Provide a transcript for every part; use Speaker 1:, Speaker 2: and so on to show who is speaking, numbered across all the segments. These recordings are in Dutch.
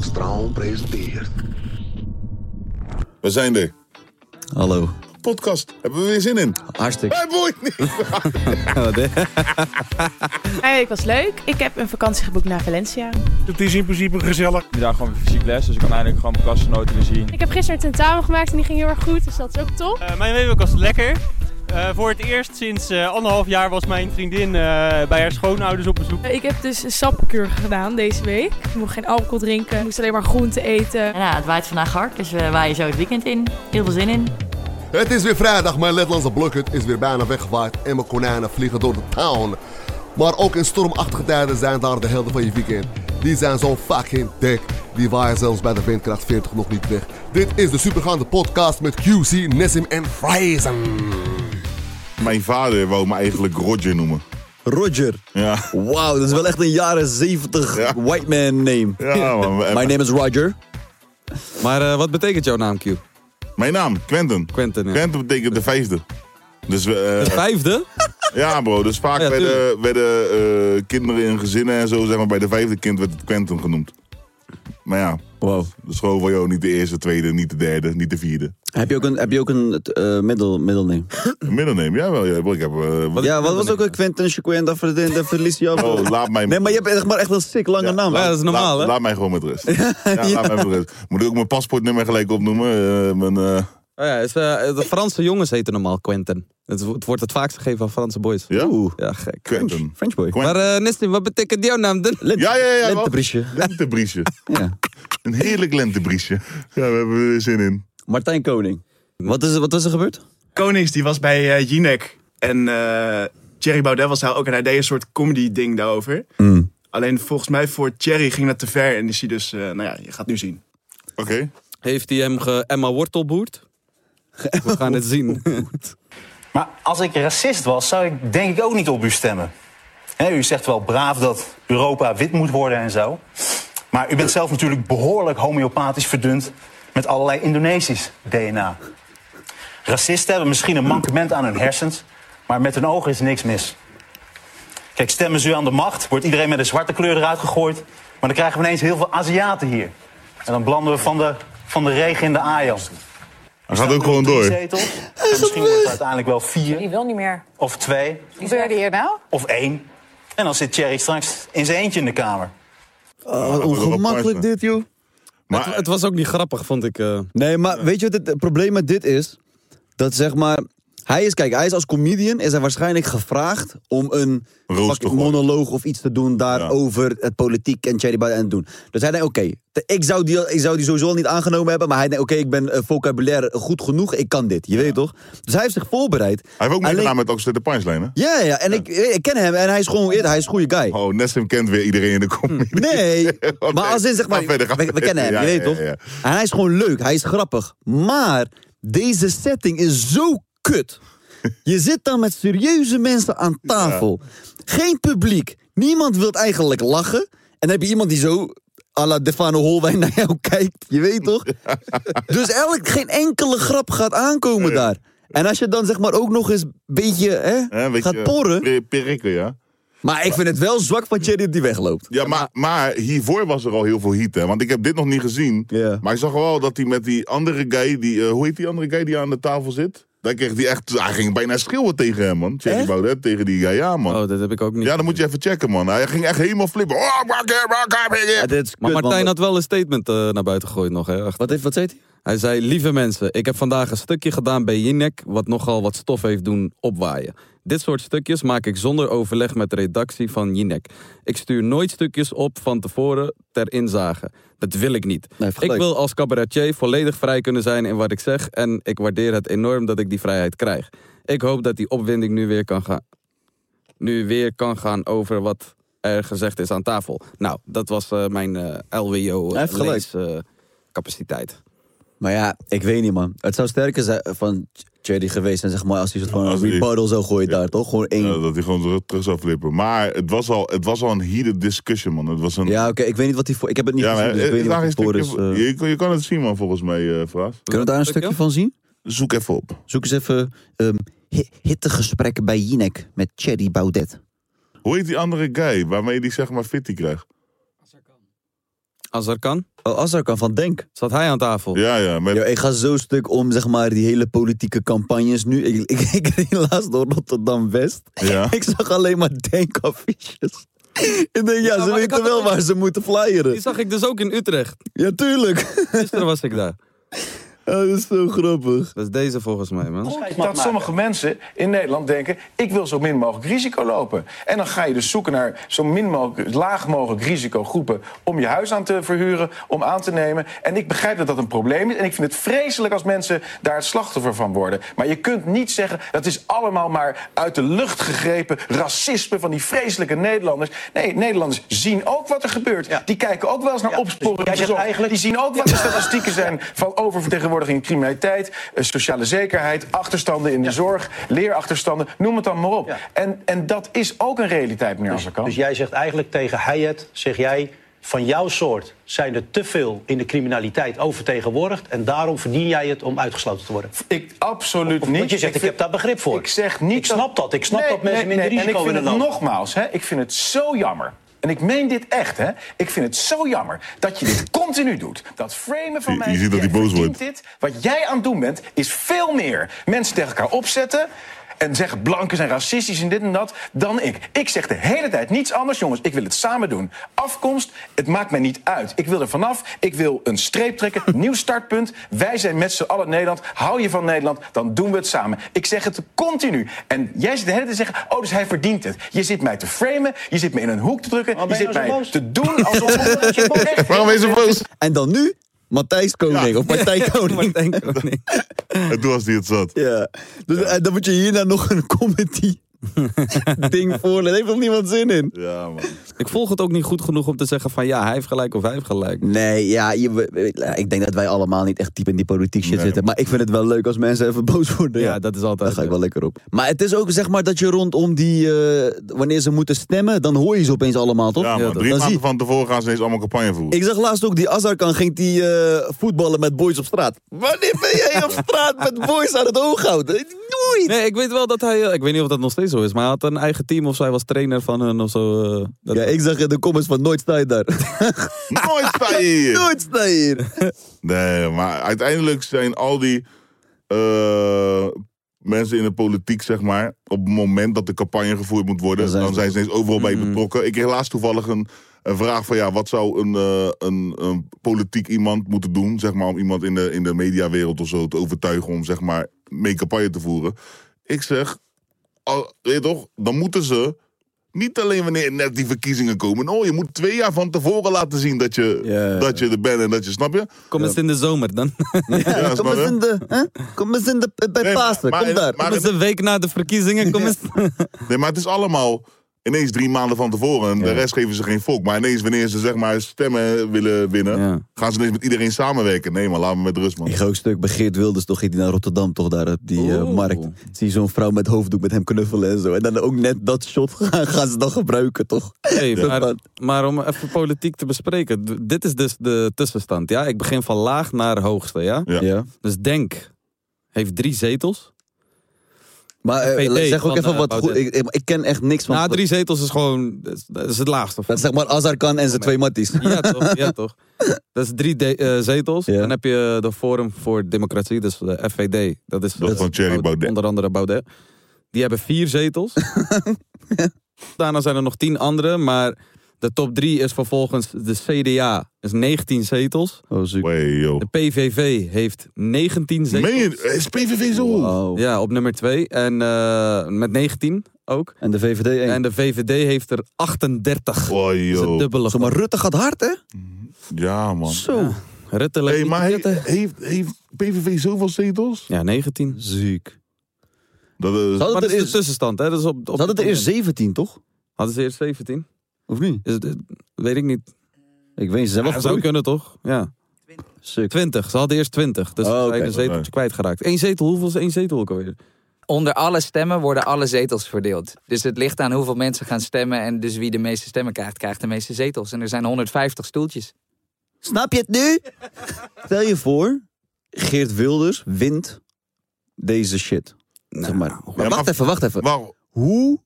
Speaker 1: Straal presenteert.
Speaker 2: We zijn er.
Speaker 3: Hallo.
Speaker 2: Podcast. Hebben we weer zin in?
Speaker 3: Hartstikke.
Speaker 2: Wij boeit niet.
Speaker 3: Wat, hè?
Speaker 4: Mijn week was leuk. Ik heb een vakantie geboekt naar Valencia.
Speaker 5: Het is in principe gezellig.
Speaker 6: vandaag gewoon weer fysiek les, dus ik kan eindelijk gewoon mijn klasgenoten weer zien.
Speaker 7: Ik heb gisteren een tentamen gemaakt en die ging heel erg goed, dus dat is ook top.
Speaker 8: Eh, mijn week was lekker. Eh, voor het eerst sinds eh, anderhalf jaar was mijn vriendin eh, bij haar schoonouders op bezoek.
Speaker 7: Ik heb dus een sapkuur gedaan deze week. Ik mocht geen alcohol drinken, ik moest alleen maar groente eten.
Speaker 9: Ja, nou, het waait vandaag hard, dus we waaien zo het weekend in. Heel veel zin in.
Speaker 1: Het is weer vrijdag, mijn Letlandse blokhut is weer bijna weggewaaid en mijn konijnen vliegen door de town. Maar ook in stormachtige tijden zijn daar de helden van je weekend. Die zijn zo fucking dik. Die waaien zelfs bij de windkracht 40 nog niet weg. Dit is de supergaande podcast met QC, Nessim en Friesen.
Speaker 2: Mijn vader wou me eigenlijk Roger noemen.
Speaker 3: Roger.
Speaker 2: Ja.
Speaker 3: Wauw, dat is wel echt een jaren 70
Speaker 2: Ja.
Speaker 3: white man name.
Speaker 2: Ja, man. Eh,
Speaker 3: My name is Roger. Maar eh, wat betekent jouw naam, Q?
Speaker 2: Mijn naam, Quentin.
Speaker 3: Quentin, ja.
Speaker 2: Quentin betekent de vijfde. Dus we,
Speaker 3: De
Speaker 2: eh,
Speaker 3: vijfde?
Speaker 2: ja bro, dus vaak
Speaker 3: Ja,
Speaker 2: werden, werden eh, kinderen in gezinnen en zo, zeg maar, bij de vijfde kind werd het Quentin genoemd. Maar ja,
Speaker 3: Wow.
Speaker 2: de school van jou niet de eerste, tweede, niet de derde, niet de vierde.
Speaker 3: Heb je ook een, heb je ook een eh middel, middelneem?
Speaker 2: Een Middelneem, jawel. Ja, bro, ik heb, eh, wat-
Speaker 3: Ja, wat was ook een Quentin Chiquen, dat verlies dat verlies je af.
Speaker 2: Oh, laat mij...
Speaker 3: Nee, maar je hebt echt, maar echt een sick lange
Speaker 2: Ja,
Speaker 3: naam.
Speaker 2: laat-
Speaker 3: Ja, dat is normaal,
Speaker 2: laat,
Speaker 3: hè?
Speaker 2: Laat mij gewoon met rust. Ja, laat mij met rust. Moet ik ook mijn paspoortnummer gelijk opnoemen? Eh, mijn... eh,
Speaker 3: Oh ja, is, eh, de Franse jongens heten normaal Quentin. Het, wo- het wordt het vaakst gegeven aan Franse boys.
Speaker 2: Ja?
Speaker 3: Ja, gek.
Speaker 2: Quentin.
Speaker 3: French- French boy.
Speaker 2: Quentin.
Speaker 3: Maar eh Nesty, wat betekent jouw naam? dan?
Speaker 2: Ja, ja, ja. wel.
Speaker 3: Lentebriesje.
Speaker 2: Lentebriesje.
Speaker 3: Ja.
Speaker 2: Een heerlijk lentebriesje. Ja, we hebben er weer zin in.
Speaker 3: Martijn Koning. Wat is, er- wat is er gebeurd?
Speaker 10: Konings die was bij eh, Jinek. En eh, Thierry Baudet was daar ook. En hij deed een soort comedy-ding daarover. Alleen volgens mij voor Thierry ging dat te ver. En is hij dus, eh, nou ja, je gaat nu zien.
Speaker 2: Oké.
Speaker 3: Heeft hij hem ge Emma Wortelboerd? We gaan het zien.
Speaker 6: Maar als ik racist was, zou ik denk ik ook niet op u stemmen. Hè, u zegt wel braaf dat Europa wit moet worden en zo. Maar u bent zelf natuurlijk behoorlijk homeopathisch verdund met allerlei Indonesisch DNA. Racisten hebben misschien een mankement aan hun hersens, maar met hun ogen is niks mis. Kijk, stemmen ze u aan de macht, wordt iedereen met een zwarte kleur eruit gegooid. Maar dan krijgen we ineens heel veel Aziaten hier. En dan belanden we van de, van de regen in de Ajo.
Speaker 2: Hij gaat ook gewoon door.
Speaker 6: Zetels. En Misschien wordt het uiteindelijk wel vier
Speaker 9: wil niet meer.
Speaker 6: of twee
Speaker 9: gebeurde hier nou?
Speaker 6: of één. En dan zit Thierry straks in zijn eentje in de kamer.
Speaker 2: Oh, wat ongemakkelijk dit,
Speaker 3: joh.
Speaker 2: Maar
Speaker 3: Ah, het, het was ook niet grappig, vond ik. eh. Nee, maar weet je wat het, eh, probleem met dit is? Dat zeg maar... Hij is, kijk, hij is als comedian is hij waarschijnlijk gevraagd om een
Speaker 2: Roos
Speaker 3: fucking
Speaker 2: te gooien.
Speaker 3: monoloog of iets te doen daarover het politiek en Thierry Baudet aan te doen. Dus hij denkt, oké, te- ik, zou die- ik zou die sowieso al niet aangenomen hebben, maar hij denkt, oké, ik ben eh, vocabulaire goed genoeg, ik kan dit, je weet toch? Dus hij heeft zich voorbereid.
Speaker 2: hij heeft ook
Speaker 3: Alleen-
Speaker 2: meegedaan met Oxford de Punchline, hè?
Speaker 3: Ja, ja, en Ik, eh, ik ken hem en hij is gewoon, hij is een goede guy.
Speaker 2: Oh, Nessim kent weer iedereen in de comedy.
Speaker 3: Nee,
Speaker 2: Oké,
Speaker 3: maar als in zeg maar,
Speaker 2: ga verder, ga
Speaker 3: we, we
Speaker 2: verder.
Speaker 3: kennen hem,
Speaker 2: Ja,
Speaker 3: je weet
Speaker 2: ja,
Speaker 3: toch?
Speaker 2: ja, ja.
Speaker 3: En hij is gewoon leuk, hij is grappig. Maar deze setting is zo kut. Je zit dan met serieuze mensen aan tafel. Geen publiek. Niemand wil eigenlijk lachen. En dan heb je iemand die zo à la Defano Holwijn naar jou kijkt. Je weet toch? Dus eigenlijk geen enkele grap gaat aankomen daar. En als je dan zeg maar ook nog eens een beetje, hè,
Speaker 2: Hè, weet
Speaker 3: Hm. gaat
Speaker 2: je,
Speaker 3: porren.
Speaker 2: per- Perikken, ja.
Speaker 3: Maar ik vind het wel zwak van Thierry dat die wegloopt.
Speaker 2: Ja, maar, maar hiervoor was er al heel veel heat, hè. Want ik heb dit nog niet gezien.
Speaker 3: Ja.
Speaker 2: Maar ik zag wel dat hij met die andere guy, die, eh, hoe heet die andere guy die aan de tafel zit? Daar kreeg hij echt, hij ging bijna schreeuwen tegen hem, man. Thierry Baudet tegen die guy, ja, man.
Speaker 3: Oh, dat heb ik ook niet.
Speaker 2: Ja, dan moet je even checken, man. Hij ging echt helemaal flippen. Oh, fuck it, fuck it, fuck it.
Speaker 11: Maar
Speaker 3: Kut,
Speaker 11: Martijn
Speaker 3: want-
Speaker 11: had wel een statement eh, naar buiten gegooid nog. Hè, wat,
Speaker 3: wat zei hij?
Speaker 11: Hij zei, lieve mensen, ik heb vandaag een stukje gedaan bij Jinek... wat nogal wat stof heeft doen opwaaien. Dit soort stukjes maak ik zonder overleg met de redactie van Jinek. Ik stuur nooit stukjes op van tevoren ter inzage. Dat wil ik niet. ik wil als cabaretier volledig vrij kunnen zijn in wat ik zeg... en ik waardeer het enorm dat ik die vrijheid krijg. Ik hoop dat die opwinding nu weer kan gaan... nu weer kan gaan over wat er gezegd is aan tafel. Nou, dat was eh, mijn eh, LWO
Speaker 3: Hij heeft gelijk.
Speaker 11: capaciteit.
Speaker 3: Maar ja, ik weet niet, man. Het zou sterker zijn van Cherry geweest zijn, zeg maar, als hij soort van
Speaker 2: Als
Speaker 3: een
Speaker 2: hij-
Speaker 3: rebuttal zou gooien daar, toch? Gewoon één.
Speaker 2: Ja, dat hij gewoon terug- terug zou flippen. Maar het was al, het was al een heated discussion, man. Het was een...
Speaker 3: Ja, oké, ik weet niet wat hij voor. Ik heb het niet
Speaker 2: Ja, maar
Speaker 3: gezien, dus
Speaker 2: het-
Speaker 3: ik weet niet
Speaker 2: daar
Speaker 3: wat hij
Speaker 2: is een
Speaker 3: voor is.
Speaker 2: stukje-
Speaker 3: eh.
Speaker 2: je, kan- je kan het zien, man, volgens mij, eh Fraas.
Speaker 3: Kunnen we daar een stukje van zien?
Speaker 2: Zoek even op.
Speaker 3: Zoek eens even ehm hi- hittegesprekken bij Jinek met Thierry Baudet.
Speaker 2: Hoe heet die andere guy waarmee die zeg maar fitty krijgt?
Speaker 11: Azarkan?
Speaker 3: Oh, Azarkan van Denk.
Speaker 11: Zat hij aan tafel?
Speaker 2: Ja, ja.
Speaker 3: Yo, ik ga zo stuk om, zeg maar, die hele politieke campagnes nu. Ik, ik, ik reed laatst door Rotterdam-West.
Speaker 2: Ja.
Speaker 3: Ik zag alleen maar denkaffiches. Ik denk, ja, ze weten wel waar ze moeten flyeren.
Speaker 11: Die zag ik dus ook in Utrecht.
Speaker 3: Ja, tuurlijk.
Speaker 11: Gisteren was ik daar.
Speaker 3: dat is zo grappig.
Speaker 11: Dat is deze volgens mij, man.
Speaker 12: dat sommige mensen in Nederland denken: ik wil zo min mogelijk risico lopen. En dan ga je dus zoeken naar zo min mogelijk, laag mogelijk risicogroepen om je huis aan te verhuren, om aan te nemen. En ik begrijp dat dat een probleem is. En ik vind het vreselijk als mensen daar het slachtoffer van worden. Maar je kunt niet zeggen dat is allemaal maar uit de lucht gegrepen racisme van die vreselijke Nederlanders. Nee, Nederlanders zien ook wat er gebeurt. Die kijken ook wel eens naar opsporing.
Speaker 6: jij zegt
Speaker 12: Zo'n-
Speaker 6: eigenlijk-
Speaker 12: Die zien ook wat de statistieken zijn van oververtegenwoordiging, criminaliteit, eh, sociale zekerheid, achterstanden in de zorg, leerachterstanden, noem het dan maar op. En, en dat is ook een realiteit, meneer Azarkan.
Speaker 13: Dus jij zegt eigenlijk tegen Hayat, zeg jij... van jouw soort zijn er te veel in de criminaliteit oververtegenwoordigd... en daarom verdien jij het om uitgesloten te worden.
Speaker 12: Ik absoluut niet.
Speaker 13: Want je zegt, ik, heb daar begrip voor. Ik zeg niet Ik snap dat. Ik snap
Speaker 12: Nee,
Speaker 13: dat mensen
Speaker 12: nee,
Speaker 13: minder
Speaker 12: nee.
Speaker 13: risico
Speaker 12: En ik
Speaker 13: willen
Speaker 12: vind het
Speaker 13: lopen.
Speaker 12: nogmaals, hè, ik vind het zo jammer. En ik meen dit echt, hè. Ik vind het zo jammer dat je dit continu doet. Dat framen van
Speaker 2: Je- je
Speaker 12: mij...
Speaker 2: ziet dat
Speaker 12: jij
Speaker 2: hij boos
Speaker 12: verdient
Speaker 2: wordt.
Speaker 12: Dit, wat jij aan het doen bent, is veel meer mensen tegen elkaar opzetten... en zeggen blanken zijn racistisch en dit en dat, dan ik. Ik zeg de hele tijd niets anders, jongens. Ik wil het samen doen. Afkomst, het maakt mij niet uit. Ik wil er vanaf, ik wil een streep trekken, nieuw startpunt. Wij zijn met z'n allen Nederland. Hou je van Nederland, dan doen we het samen. Ik zeg het continu. En jij zit de hele tijd te zeggen, oh, dus hij verdient het. Je zit mij te framen, je zit me in een hoek te drukken... je
Speaker 13: ben je
Speaker 12: zit
Speaker 13: nou zo
Speaker 12: mij
Speaker 13: boos?
Speaker 12: te doen alsof...
Speaker 2: Waarom ben je zo boos?
Speaker 3: En dan nu, Matthijs Koning. Of Martijn Koning.
Speaker 2: En toen was hij het zat.
Speaker 3: Ja. Dus, eh, dan moet je hierna nog een comedy ding voorlezen. Daar heeft nog niemand zin in.
Speaker 2: Ja, man.
Speaker 11: Ik volg het ook niet goed genoeg om te zeggen van ja, hij heeft gelijk of hij heeft gelijk.
Speaker 3: Nee, ja, je- we- we- ik denk dat wij allemaal niet echt diep in die politiek shit zitten. Maar ik vind het wel leuk als mensen even boos worden. Ja,
Speaker 11: dat is altijd.
Speaker 3: Daar ga ik wel lekker op. Maar het is ook zeg maar dat je rondom die. eh, wanneer ze moeten stemmen, dan hoor je ze opeens allemaal, toch?
Speaker 2: Ja, man. Drie
Speaker 3: dan
Speaker 2: maanden
Speaker 3: zie,
Speaker 2: van tevoren gaan ze ineens allemaal campagne voeren.
Speaker 3: ik zag laatst ook die Azarkan ging die eh, voetballen met boys op straat. Wanneer ben jij op straat met boys aan het oog houden? Nooit!
Speaker 11: Nee, ik weet wel dat hij, eh, ik weet niet of dat nog steeds zo is, maar hij had een eigen team of zij was trainer van hun of zo. eh, dat-
Speaker 3: Ja, ik zag in de comments van nooit sta je daar.
Speaker 2: Nooit sta je hier.
Speaker 3: nooit sta je hier.
Speaker 2: Nee, maar uiteindelijk zijn al die eh, mensen in de politiek, zeg maar, op het moment dat de campagne gevoerd moet worden, dan zijn ze Mm-hmm. ineens overal bij betrokken. Ik kreeg laatst toevallig een, een vraag van ja, wat zou een, eh, een, een politiek iemand moeten doen, zeg maar, om iemand in de, in de mediawereld of zo te overtuigen om zeg maar mee campagne te voeren. Ik zeg, al, weet je toch, dan moeten ze. Niet alleen wanneer net die verkiezingen komen. Oh, je moet twee jaar van tevoren laten zien dat je, dat je er bent en dat je, snap je?
Speaker 11: Kom eens in de zomer dan.
Speaker 2: Ja,
Speaker 3: Kom
Speaker 2: snap je?
Speaker 3: eens in de. hè? Kom eens in de. eh, Bij
Speaker 2: Nee, maar-
Speaker 3: Pasen,
Speaker 2: maar-
Speaker 3: kom daar.
Speaker 2: maar-
Speaker 11: Kom eens een week na de verkiezingen, kom eens.
Speaker 2: Nee, maar het is allemaal ineens drie maanden van tevoren. En de rest geven ze geen volk. Maar ineens wanneer ze zeg maar stemmen willen winnen, gaan ze ineens met iedereen samenwerken. Nee, maar laat me met rust, man.
Speaker 3: Ik ga ook stuk bij Geert Wilders, toch ging hij naar Rotterdam, toch daar op die eh, markt. Zie je zo'n vrouw met hoofddoek met hem knuffelen en zo. En dan ook net dat shot gaan, gaan ze dan gebruiken, toch?
Speaker 11: Hey,
Speaker 3: Dat
Speaker 11: maar,
Speaker 3: dan-
Speaker 11: maar om even politiek te bespreken. d- Dit is dus de tussenstand. Ja? Ik begin van laag naar hoogste. Ja?
Speaker 2: Ja.
Speaker 11: Dus Denk heeft drie zetels.
Speaker 3: Maar eh,
Speaker 11: De PD
Speaker 3: zeg ook
Speaker 11: van,
Speaker 3: even
Speaker 11: eh,
Speaker 3: wat
Speaker 11: Baudet.
Speaker 3: goed. Ik, ik ken echt niks van.
Speaker 11: Nou, drie zetels is gewoon dat is, dat is het laagste.
Speaker 3: Dat is zeg maar Azarkan en zijn twee matties.
Speaker 11: Ja, toch? Ja, toch? Dat is drie de- eh, zetels. Dan heb je de Forum voor Democratie, dus de FVD. Dat is
Speaker 2: Dat van Thierry Baudet.
Speaker 11: onder andere Baudet. Die hebben vier zetels. Daarna zijn er nog tien andere, maar de top drie is vervolgens de CDA. is 19 zetels.
Speaker 3: Oh, ziek.
Speaker 11: De PVV heeft 19 zetels.
Speaker 2: Meen je? Is PVV zo?
Speaker 3: Oh.
Speaker 11: Ja, op nummer 2. En eh, met 19 ook.
Speaker 3: En de VVD 1.
Speaker 11: En de VVD heeft er 38.
Speaker 2: Oh,
Speaker 11: Dat is het dubbele.
Speaker 3: Zo, maar Rutte gaat hard, hè?
Speaker 2: Ja, man.
Speaker 3: Zo.
Speaker 11: Rutte lijkt
Speaker 2: Hey,
Speaker 11: niet
Speaker 2: maar
Speaker 11: te
Speaker 2: he-
Speaker 11: zetten.
Speaker 2: heeft, heeft PVV zoveel zetels?
Speaker 11: Ja, 19.
Speaker 3: Ziek. dus-
Speaker 2: Dat is...
Speaker 11: Maar dat is de tussenstand. Hè? Dat is op, op
Speaker 3: Ze hadden er eerst 17, toch?
Speaker 11: Hadden ze eerst 17?
Speaker 3: Of niet?
Speaker 11: Is het, weet ik niet.
Speaker 3: Ik weet niet, ze zijn wel
Speaker 11: Ja, zou
Speaker 3: gegroeid.
Speaker 11: kunnen toch? Ja. 20. Ze hadden eerst 20. Dus ze
Speaker 3: Oh,
Speaker 11: zijn
Speaker 3: oké.
Speaker 11: een zeteltje kwijtgeraakt. Eén zetel, hoeveel is één zetel ook alweer?
Speaker 14: Onder alle stemmen worden alle zetels verdeeld. Dus het ligt aan hoeveel mensen gaan stemmen. En dus wie de meeste stemmen krijgt, krijgt de meeste zetels. En er zijn 150 stoeltjes.
Speaker 3: Snap je het nu? Stel je voor, Geert Wilders wint deze shit.
Speaker 11: Nou.
Speaker 3: zeg maar. Maar wacht even, wacht even. Hoe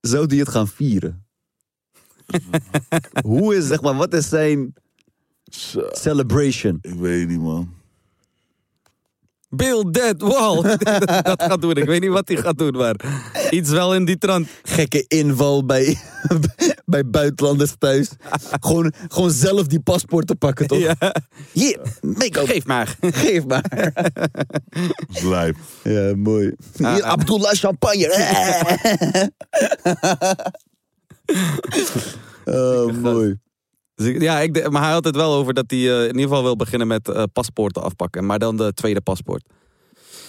Speaker 3: zou die het gaan vieren? Hoe is, zeg maar, wat is zijn celebration?
Speaker 2: Ik weet niet, man.
Speaker 11: Bill Dead Wall. dat gaat doen. Ik weet niet wat hij gaat doen, maar iets wel in die trant.
Speaker 3: Gekke inval bij, bij buitenlanders thuis. gewoon, gewoon zelf die paspoorten pakken, toch?
Speaker 11: Ja.
Speaker 3: Hier, make-up.
Speaker 11: Geef maar.
Speaker 3: Geef maar.
Speaker 2: Slijp.
Speaker 3: Ja, mooi.
Speaker 11: Ah,
Speaker 3: Hier, Abdullah Champagne. Oh, mooi.
Speaker 11: ja, ik, de- maar hij had het wel over dat hij eh, in ieder geval wil beginnen met eh, paspoorten afpakken. Maar dan de tweede paspoort.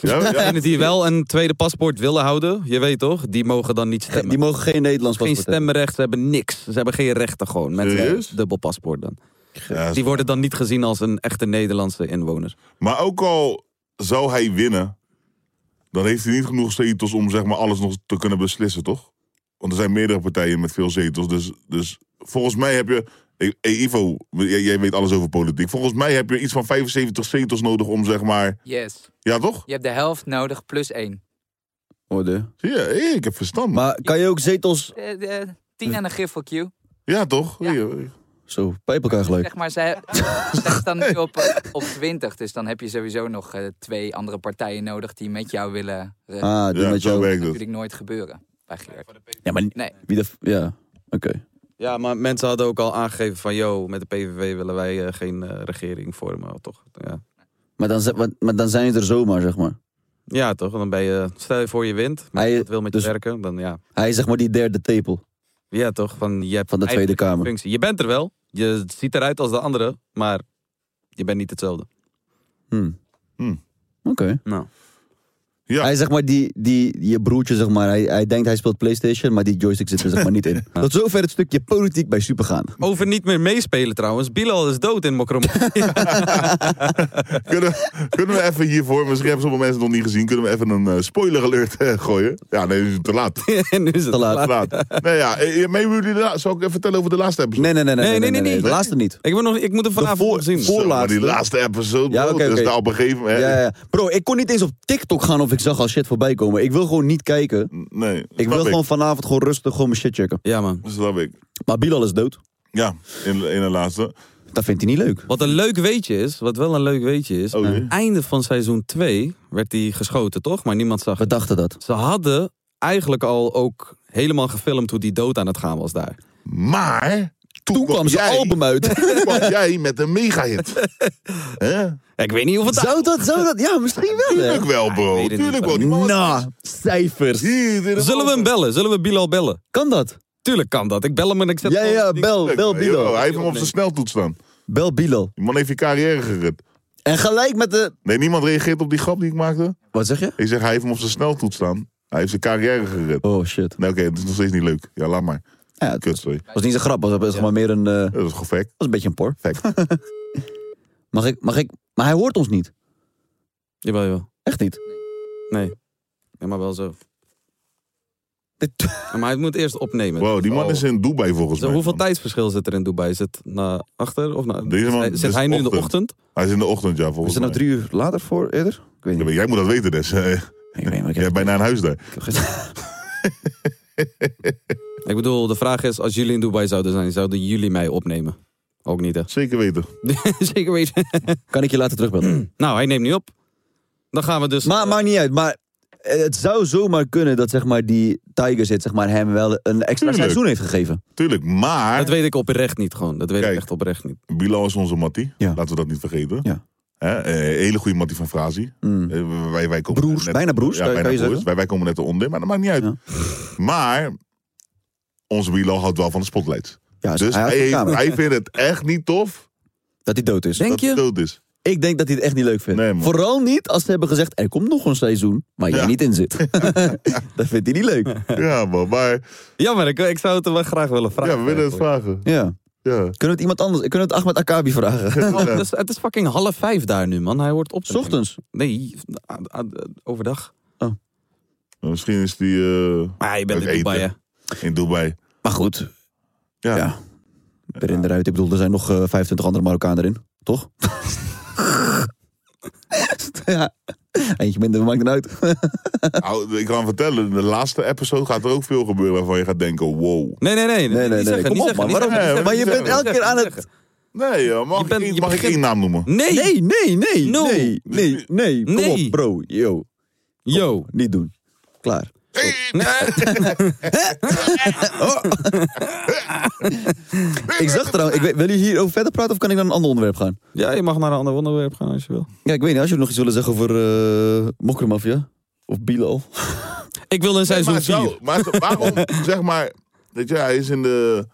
Speaker 2: Ja, ja.
Speaker 11: Degenen die wel een tweede paspoort willen houden, je weet toch, die mogen dan niet stemmen. Die
Speaker 3: mogen geen Nederlands
Speaker 11: paspoort Geen stemrecht, ze hebben niks. Ze hebben geen rechten gewoon, met een
Speaker 2: Serieus?
Speaker 11: dubbel paspoort dan.
Speaker 2: Ja,
Speaker 11: Die worden dan niet gezien als een echte Nederlandse inwoner.
Speaker 2: Maar ook al zou hij winnen, dan heeft hij niet genoeg zetels om zeg maar, alles nog te kunnen beslissen, toch? Want er zijn meerdere partijen met veel zetels. Dus, dus volgens mij heb je. Hey, hey, Ivo, jij, jij weet alles over politiek. Volgens mij heb je iets van 75 zetels nodig om zeg maar.
Speaker 14: Yes.
Speaker 2: Ja, toch?
Speaker 14: Je hebt de helft nodig plus één.
Speaker 3: Orde.
Speaker 2: Ja, ik heb verstand.
Speaker 3: Maar kan je ook zetels...
Speaker 14: Eh, eh, tien en een griffel Q.
Speaker 2: Ja, toch?
Speaker 3: Zo, bij elkaar gelijk.
Speaker 14: Zeg maar, zij zij staan nu op, eh, op 20. Dus dan heb je sowieso nog eh, twee andere partijen nodig die met jou willen. eh,
Speaker 3: Ah, die Ja, met zo
Speaker 14: Dat
Speaker 3: jou- werkt het.
Speaker 14: gaat natuurlijk nooit gebeuren bij Geert.
Speaker 3: Ja, maar
Speaker 14: nee.
Speaker 3: wie de... Ja, oké.
Speaker 11: Ja, maar mensen hadden ook al aangegeven van... yo, met de PVV willen wij eh, geen eh, regering vormen, toch? Ja.
Speaker 3: Maar, dan, zijn- maar dan zijn ze er zomaar, zeg maar.
Speaker 11: ja, toch? Dan ben je... Stel je voor je wint, maar
Speaker 3: Hij-
Speaker 11: het wil met je
Speaker 3: dus-
Speaker 11: werken, dan ja.
Speaker 3: Hij is zeg maar die derde tepel.
Speaker 11: Ja, toch? Van, je hebt
Speaker 3: Van de
Speaker 11: eigenlijk
Speaker 3: Tweede
Speaker 11: geen
Speaker 3: Kamer.
Speaker 11: Functie. Je bent er wel. Je ziet eruit als de andere, maar je bent niet hetzelfde.
Speaker 3: Hmm. Oké.
Speaker 11: Nou.
Speaker 3: Hij is zeg maar die, die, je broertje, zeg maar. Hij, hij denkt hij speelt Playstation, maar die joystick zit er zeg maar niet in. Tot zover het stukje politiek bij Supergaan.
Speaker 11: Over niet meer meespelen trouwens. Bilal is dood in Mokrom.
Speaker 2: Kunnen, kunnen we even hiervoor, misschien hebben sommige mensen het nog niet gezien, kunnen we even een eh, spoiler alert eh, gooien? Ja, nee, nu is het te laat.
Speaker 11: nu is het te laat.
Speaker 2: Nee, ja, eh, eh, meenemen jullie de la- zal ik even vertellen over de laatste episode?
Speaker 3: Nee, nee, nee. nee, nee, nee, De laatste niet.
Speaker 11: Ik moet, nog, ik moet hem vanavond nog zien.
Speaker 2: Zo, maar die laatste episode,
Speaker 3: Ja,
Speaker 2: bro,
Speaker 3: oké,
Speaker 2: dat is
Speaker 3: oké.
Speaker 2: daar op een gegeven moment.
Speaker 3: Ja, ja, ja. Bro, ik kon niet eens op TikTok gaan of ik zag al shit voorbij komen. Ik wil gewoon niet kijken.
Speaker 2: Nee,
Speaker 3: Ik wil gewoon vanavond gewoon rustig gewoon mijn shit checken.
Speaker 11: Ja, man.
Speaker 2: Dat snap ik.
Speaker 3: Maar Bilal is dood.
Speaker 2: Ja, in, in de laatste.
Speaker 3: Dat vindt hij niet leuk. Oh,
Speaker 11: Wat een leuk weetje is, wat wel een leuk weetje is. aan het einde van seizoen 2 werd hij geschoten, toch? Maar niemand zag We
Speaker 3: dachten dat.
Speaker 11: Ze hadden eigenlijk al ook helemaal gefilmd hoe die dood aan het gaan was daar.
Speaker 2: Maar toen, kwam
Speaker 11: zijn
Speaker 2: jij-
Speaker 11: album uit.
Speaker 2: Toen kwam jij met een mega-hit. Hè?
Speaker 11: Ik weet niet of het...
Speaker 3: Zou dat, zou dat? Ja, misschien wel.
Speaker 2: Tuurlijk wel, bro. Tuurlijk wel. Die man was-
Speaker 3: Na, cijfers.
Speaker 11: Zullen we hem bellen? Zullen we Bilal bellen?
Speaker 3: Kan dat?
Speaker 11: Tuurlijk kan dat. Ik bel hem en ik zet
Speaker 3: Ja, ja, bel, bel
Speaker 2: Yo,
Speaker 3: Bilal.
Speaker 2: Hij heeft hem op zijn sneltoets staan.
Speaker 3: Bel Bilal.
Speaker 2: Die man heeft je carrière gered.
Speaker 3: En gelijk met de...
Speaker 2: Nee, niemand reageert op die grap die ik maakte.
Speaker 3: Wat zeg je?
Speaker 2: Ik zeg, hij heeft hem op zijn sneltoets staan. Hij heeft zijn carrière gered.
Speaker 3: Oh, shit.
Speaker 2: Nee, oké, het is nog steeds niet leuk. Ja, laat maar.
Speaker 3: Ja, het
Speaker 2: Kut, sorry.
Speaker 3: was niet zo grappig, het was zeg maar meer een... eh,
Speaker 2: Dat is gewoon fact.
Speaker 3: Dat is een beetje een por. mag ik, mag ik... Maar hij hoort ons niet.
Speaker 11: Jawel, jawel.
Speaker 3: Echt niet?
Speaker 11: Nee. Ja, maar wel zo. Ja, maar hij moet eerst opnemen.
Speaker 2: Wow, die man
Speaker 3: Oh.
Speaker 2: is in Dubai volgens
Speaker 11: Zo,
Speaker 2: mij.
Speaker 11: hoeveel tijdsverschil zit er in Dubai? Zit na achter of na...
Speaker 2: Deze man-
Speaker 11: zit
Speaker 2: dit is
Speaker 11: hij nu in de ochtend?
Speaker 2: Hij is in de ochtend, ja, volgens
Speaker 3: Is het
Speaker 2: mij.
Speaker 3: nou drie uur later voor eerder? Ik weet niet.
Speaker 2: Ja, maar jij moet dat weten, Des. Jij hebt bijna een huis daar.
Speaker 11: Ik bedoel, de vraag is, als jullie in Dubai zouden zijn, zouden jullie mij opnemen? Ook niet, hè?
Speaker 2: Zeker weten.
Speaker 11: Zeker weten.
Speaker 3: kan ik je later terugbellen?
Speaker 11: nou, hij neemt niet op. Dan gaan we dus...
Speaker 3: Maar maakt niet uit. Maar eh, het zou zomaar kunnen dat zeg maar, die Tiger zit zeg maar, hem wel een extra
Speaker 2: Tuurlijk.
Speaker 3: seizoen heeft gegeven.
Speaker 2: Tuurlijk, maar...
Speaker 11: Dat weet ik oprecht niet gewoon. Dat weet ik echt oprecht niet.
Speaker 2: Bilal is onze mattie. Laten we dat niet vergeten. Hè, eh, hele goede mattie van Frazi. Eh, wij, wij komen broers, net,
Speaker 3: bijna Mm. broers,
Speaker 2: Ja,
Speaker 3: kan je-
Speaker 2: bijna
Speaker 3: kan je
Speaker 2: broers.
Speaker 3: zeggen.
Speaker 2: Wij, wij komen net eronder, maar dat maakt niet uit. Maar onze Bilal houdt wel van de spotlights.
Speaker 3: Ja,
Speaker 2: dus
Speaker 3: hij
Speaker 2: hij,
Speaker 3: houdt van
Speaker 2: heeft-
Speaker 3: camera.
Speaker 2: hij vindt het echt niet tof
Speaker 3: Dat hij dood is.
Speaker 2: dat hij dood is.
Speaker 3: Ik denk dat hij het echt niet leuk vindt.
Speaker 2: Nee, man.
Speaker 3: Vooral niet als ze hebben gezegd, er komt nog een seizoen waar jij
Speaker 2: Ja.
Speaker 3: niet in zit. dat vindt hij niet leuk.
Speaker 2: Ja, man, maar...
Speaker 11: Jammer, ik, ik zou het hem wel graag willen vragen.
Speaker 2: Ja, we willen het vragen.
Speaker 3: Ja.
Speaker 2: Ja.
Speaker 3: Kunnen we het iemand anders, kunnen we het Ahmed Akabi vragen?
Speaker 11: Oh, het, is, het is fucking half vijf daar nu, man. Hij wordt op.
Speaker 3: Ochtends?
Speaker 11: Nee, a- a- overdag.
Speaker 2: Nou, Misschien is die... eh
Speaker 11: Maar je bent
Speaker 2: ook
Speaker 11: in Dubai,
Speaker 2: eten. In Dubai.
Speaker 3: Maar goed.
Speaker 2: Ja.
Speaker 3: Erin eruit. Ik bedoel, er zijn nog eh, 25 andere Marokkanen erin. Toch? ja. Eentje minder, maakt het uit.
Speaker 2: Nou, ik kan vertellen, de laatste episode gaat er ook veel gebeuren waarvan je gaat denken, wow.
Speaker 11: Nee, nee, nee.
Speaker 3: nee, nee. Kom op, man. Waarom- maar je bent elke keer aan het...
Speaker 2: Nee, joh, mag, ik, één- mag ik één naam noemen?
Speaker 11: Nee.
Speaker 3: Nee, nee, nee.
Speaker 11: No.
Speaker 3: Nee, nee, nee. Kom
Speaker 11: Nee.
Speaker 3: op, bro. Yo. Kom,
Speaker 11: Yo.
Speaker 3: Niet doen. Klaar. Oh. ik zag trouwens... Ik weet, wil je hierover verder praten of kan ik naar een ander onderwerp gaan?
Speaker 11: Ja, je mag naar een ander onderwerp gaan als je wil.
Speaker 3: Ja, ik weet niet. Als jullie nog iets willen zeggen over eh Mokromafia of Bilal.
Speaker 11: Ik wil een seizoen
Speaker 2: maar, zo,
Speaker 11: 4.
Speaker 2: maar waarom, zeg maar, weet je, hij is in de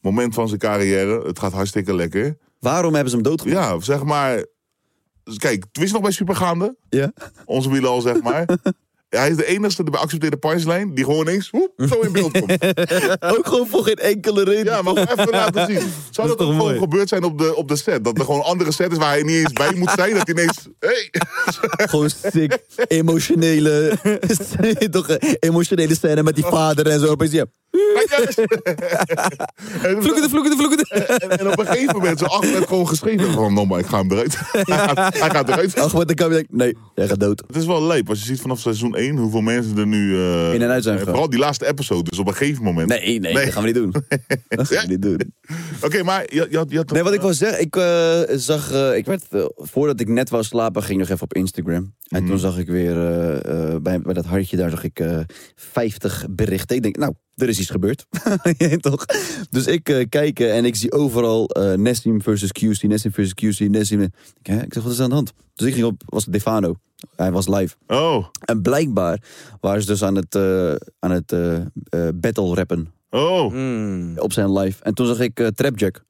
Speaker 2: moment van zijn carrière. Het gaat hartstikke lekker.
Speaker 3: Waarom hebben ze hem doodgemaakt?
Speaker 2: Ja, zeg maar, kijk, het is nog bij Supergaande.
Speaker 3: Ja.
Speaker 2: Onze Bilal, zeg maar. Hij is de enige bij accepteerde punchline die gewoon ineens woep, zo in beeld komt.
Speaker 3: Ook gewoon voor geen enkele reden.
Speaker 2: Ja, maar gewoon even laten zien. Zou dat, ook gewoon gebeurd zijn op de, op de set? Dat er gewoon een andere set is waar hij niet eens bij moet zijn. Dat hij ineens. Hey.
Speaker 3: Gewoon sick, emotionele, toch, eh, emotionele scène met die vader en zo. Opeens, ja.
Speaker 11: Vloekende, vloekende, vloekende.
Speaker 2: En, en op een gegeven moment, zo achter werd gewoon geschreven van, no, maar ik ga hem eruit. hij, gaat, hij gaat eruit.
Speaker 3: Ach, wat dan kan je denken, nee, jij gaat dood.
Speaker 2: Het is wel leuk als je ziet vanaf seizoen 1 hoeveel mensen er nu... eh,
Speaker 3: In en uit zijn
Speaker 2: eh,
Speaker 3: gegaan.
Speaker 2: Vooral die laatste episode, dus op een gegeven moment.
Speaker 3: Nee, nee, dat gaan we niet doen. Dat gaan we niet doen.
Speaker 2: Oké, maar je, je had... Je had
Speaker 3: Nee, wat ik wil zeggen, ik eh, zag, eh, ik werd, eh, voordat ik net wou slapen, ging ik nog even op Instagram. En toen zag ik weer, eh, eh, bij, bij dat hartje daar zag ik eh 50 berichten. Ik denk, nou, er is iets gebeurd. Ja, Toch? Dus ik eh kijk eh, en ik zie overal eh Nessim versus QC, Nessim versus QC, Nessim. eh. Ik, hè, ik zeg, wat is er aan de hand? Dus ik ging op, was het Defano. Hij was live.
Speaker 2: Oh,
Speaker 3: En blijkbaar waren ze dus aan het, eh, aan het eh, eh, battle rappen
Speaker 2: oh.
Speaker 3: Mm. op zijn live. En toen zag ik eh, Trapjack.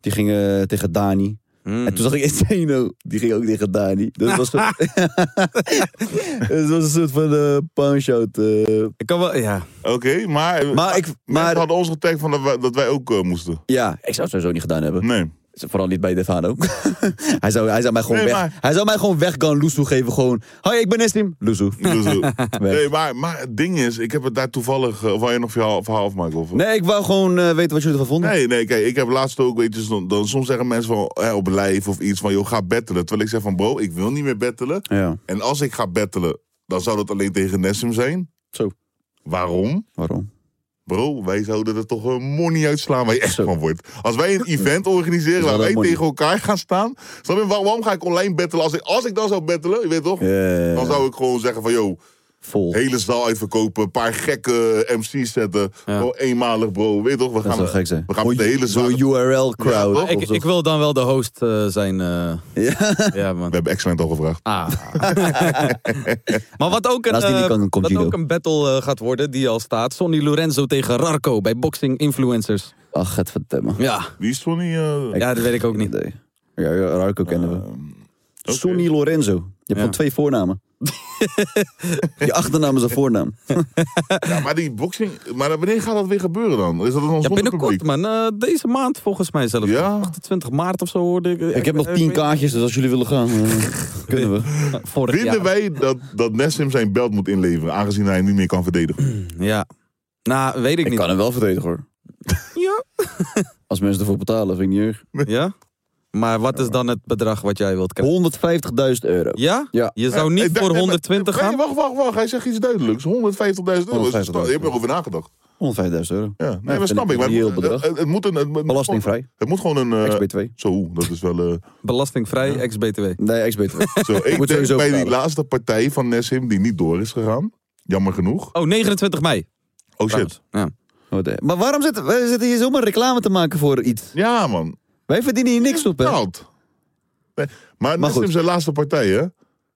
Speaker 3: Die ging eh, tegen Dani.
Speaker 2: Hmm.
Speaker 3: En toen zag ik Eteno. Die ging ook tegen Dani. Dus het was, een soort- Dus het was een soort van eh punch-out. eh.
Speaker 11: Ik kan wel, ja.
Speaker 2: Oké, maar...
Speaker 3: Maar ik-
Speaker 2: mensen
Speaker 3: maar-
Speaker 2: hadden ons getagd van dat wij, dat wij ook eh, moesten.
Speaker 3: Ja, ik zou het sowieso niet gedaan hebben.
Speaker 2: Nee.
Speaker 3: Vooral niet bij Defano. hij, zou, hij zou mij gewoon
Speaker 2: Nee,
Speaker 3: weg...
Speaker 2: maar-
Speaker 3: Hij zou mij gewoon weg gaan Loesoe geven. Gewoon, hoi, ik ben Nestim. Loesoe.
Speaker 2: Dus, eh,
Speaker 3: Weg.
Speaker 2: nee, maar, maar het ding is, ik heb het daar toevallig... eh, Of wou je nog verhaal, verhaal afmaken? Of,
Speaker 3: Nee, ik wou gewoon eh, weten wat jullie ervan vonden.
Speaker 2: Nee, nee, kijk, ik heb laatst ook, weet je, dan, dan soms zeggen mensen van, hè, op lijf of iets van, joh, ga bettelen. Terwijl ik zeg van, bro, ik wil niet meer bettelen.
Speaker 3: Ja,
Speaker 2: En als ik ga bettelen, dan zou dat alleen tegen Nessim zijn.
Speaker 3: Zo.
Speaker 2: Waarom?
Speaker 3: waarom?
Speaker 2: Bro, wij zouden er toch een money uitslaan waar je echt van wordt. Als wij een event organiseren waar
Speaker 3: dat
Speaker 2: wij
Speaker 3: money.
Speaker 2: tegen elkaar gaan staan. Snap je, waar- waarom ga ik online bettelen? Als ik, als ik dan zou bettelen, je weet toch?
Speaker 3: Eh,
Speaker 2: Dan zou ik gewoon zeggen van, joh,
Speaker 3: vol.
Speaker 2: hele zaal uitverkopen. Een paar gekke MC's zetten. Gewoon eenmalig, bro. Weet toch, we
Speaker 3: Dat
Speaker 2: gaan,
Speaker 3: zou gek zijn.
Speaker 2: we gaan met de hele zaal...
Speaker 3: Zo'n URL-crowd.
Speaker 2: Ja, toch?
Speaker 11: Ik,
Speaker 3: Of zo.
Speaker 11: ik wil dan wel de host eh, zijn. eh. Ja, man.
Speaker 2: We hebben excellent al gevraagd.
Speaker 11: Ah. maar wat ook
Speaker 3: En
Speaker 11: een,
Speaker 3: als die niet
Speaker 11: eh,
Speaker 3: kan, dan komt
Speaker 11: wat
Speaker 3: Guido.
Speaker 11: ook een battle eh, gaat worden, die al staat. Sonny Lorenzo tegen Rarco bij Boxing Influencers.
Speaker 3: Ach, het vertellen.
Speaker 11: Ja,
Speaker 2: Wie is Sonny? eh,
Speaker 11: ja dat weet ik ook niet.
Speaker 3: idee. Ja, ja Rarco kennen we. Sonny Lorenzo. Je hebt gewoon twee voornamen. je achternaam is een voornaam.
Speaker 2: Ja, maar die boxing... Maar wanneer gaat dat weer gebeuren dan? Is dat dan
Speaker 11: Ja,
Speaker 2: zonder
Speaker 11: binnenkort
Speaker 2: publiek?
Speaker 11: man. Eh, deze maand volgens mij zelfs.
Speaker 2: Ja?
Speaker 11: 28 maart of zo hoorde ik.
Speaker 3: Ik heb nog tien kaartjes, dus als jullie willen gaan, eh, kunnen we.
Speaker 11: Vorig
Speaker 2: Vinden
Speaker 11: jaar.
Speaker 2: wij dat, dat Nessim zijn belt moet inleveren, aangezien hij hem niet meer kan verdedigen?
Speaker 11: Ja. Nou, weet ik,
Speaker 3: Ik
Speaker 11: niet.
Speaker 3: kan hem wel verdedigen hoor.
Speaker 11: Ja.
Speaker 3: Als mensen ervoor betalen, vind ik niet erg.
Speaker 11: Ja? Maar wat is dan het bedrag wat jij wilt krijgen?
Speaker 3: 150.000 euro.
Speaker 11: Ja?
Speaker 3: Ja.
Speaker 11: Je zou niet
Speaker 2: Ik dacht-
Speaker 11: voor
Speaker 2: nee, maar-
Speaker 11: 120
Speaker 2: nee,
Speaker 11: gaan?
Speaker 2: wacht, wacht, wacht. Hij zegt iets duidelijks. 150.000 euro.
Speaker 3: 150.000
Speaker 2: Je hebt erover nagedacht.
Speaker 3: 105.000 euro.
Speaker 2: Ja, nee, dat snap ik. Maar eh, het
Speaker 3: Heel
Speaker 2: moet-
Speaker 3: bedrag.
Speaker 2: Het, het moet een, het, moet-
Speaker 3: Belastingvrij.
Speaker 2: Het moet gewoon een... eh,
Speaker 3: XB2.
Speaker 2: Zo, dat is wel... eh,
Speaker 11: Belastingvrij, ex-BTW.
Speaker 3: Nee, ex-BTW.
Speaker 2: zo, ik denk bij die laatste partij van Nessim die niet door is gegaan. Jammer genoeg.
Speaker 11: Oh, 29 mei.
Speaker 2: Oh shit.
Speaker 11: Ja.
Speaker 3: eh, Maar waarom zitten wij zitten hier zomaar reclame te maken voor iets?
Speaker 2: Ja, man.
Speaker 3: Wij verdienen hier niks op, hè?
Speaker 2: Nou. Nee, maar Nessim zijn laatste partij, hè?
Speaker 11: We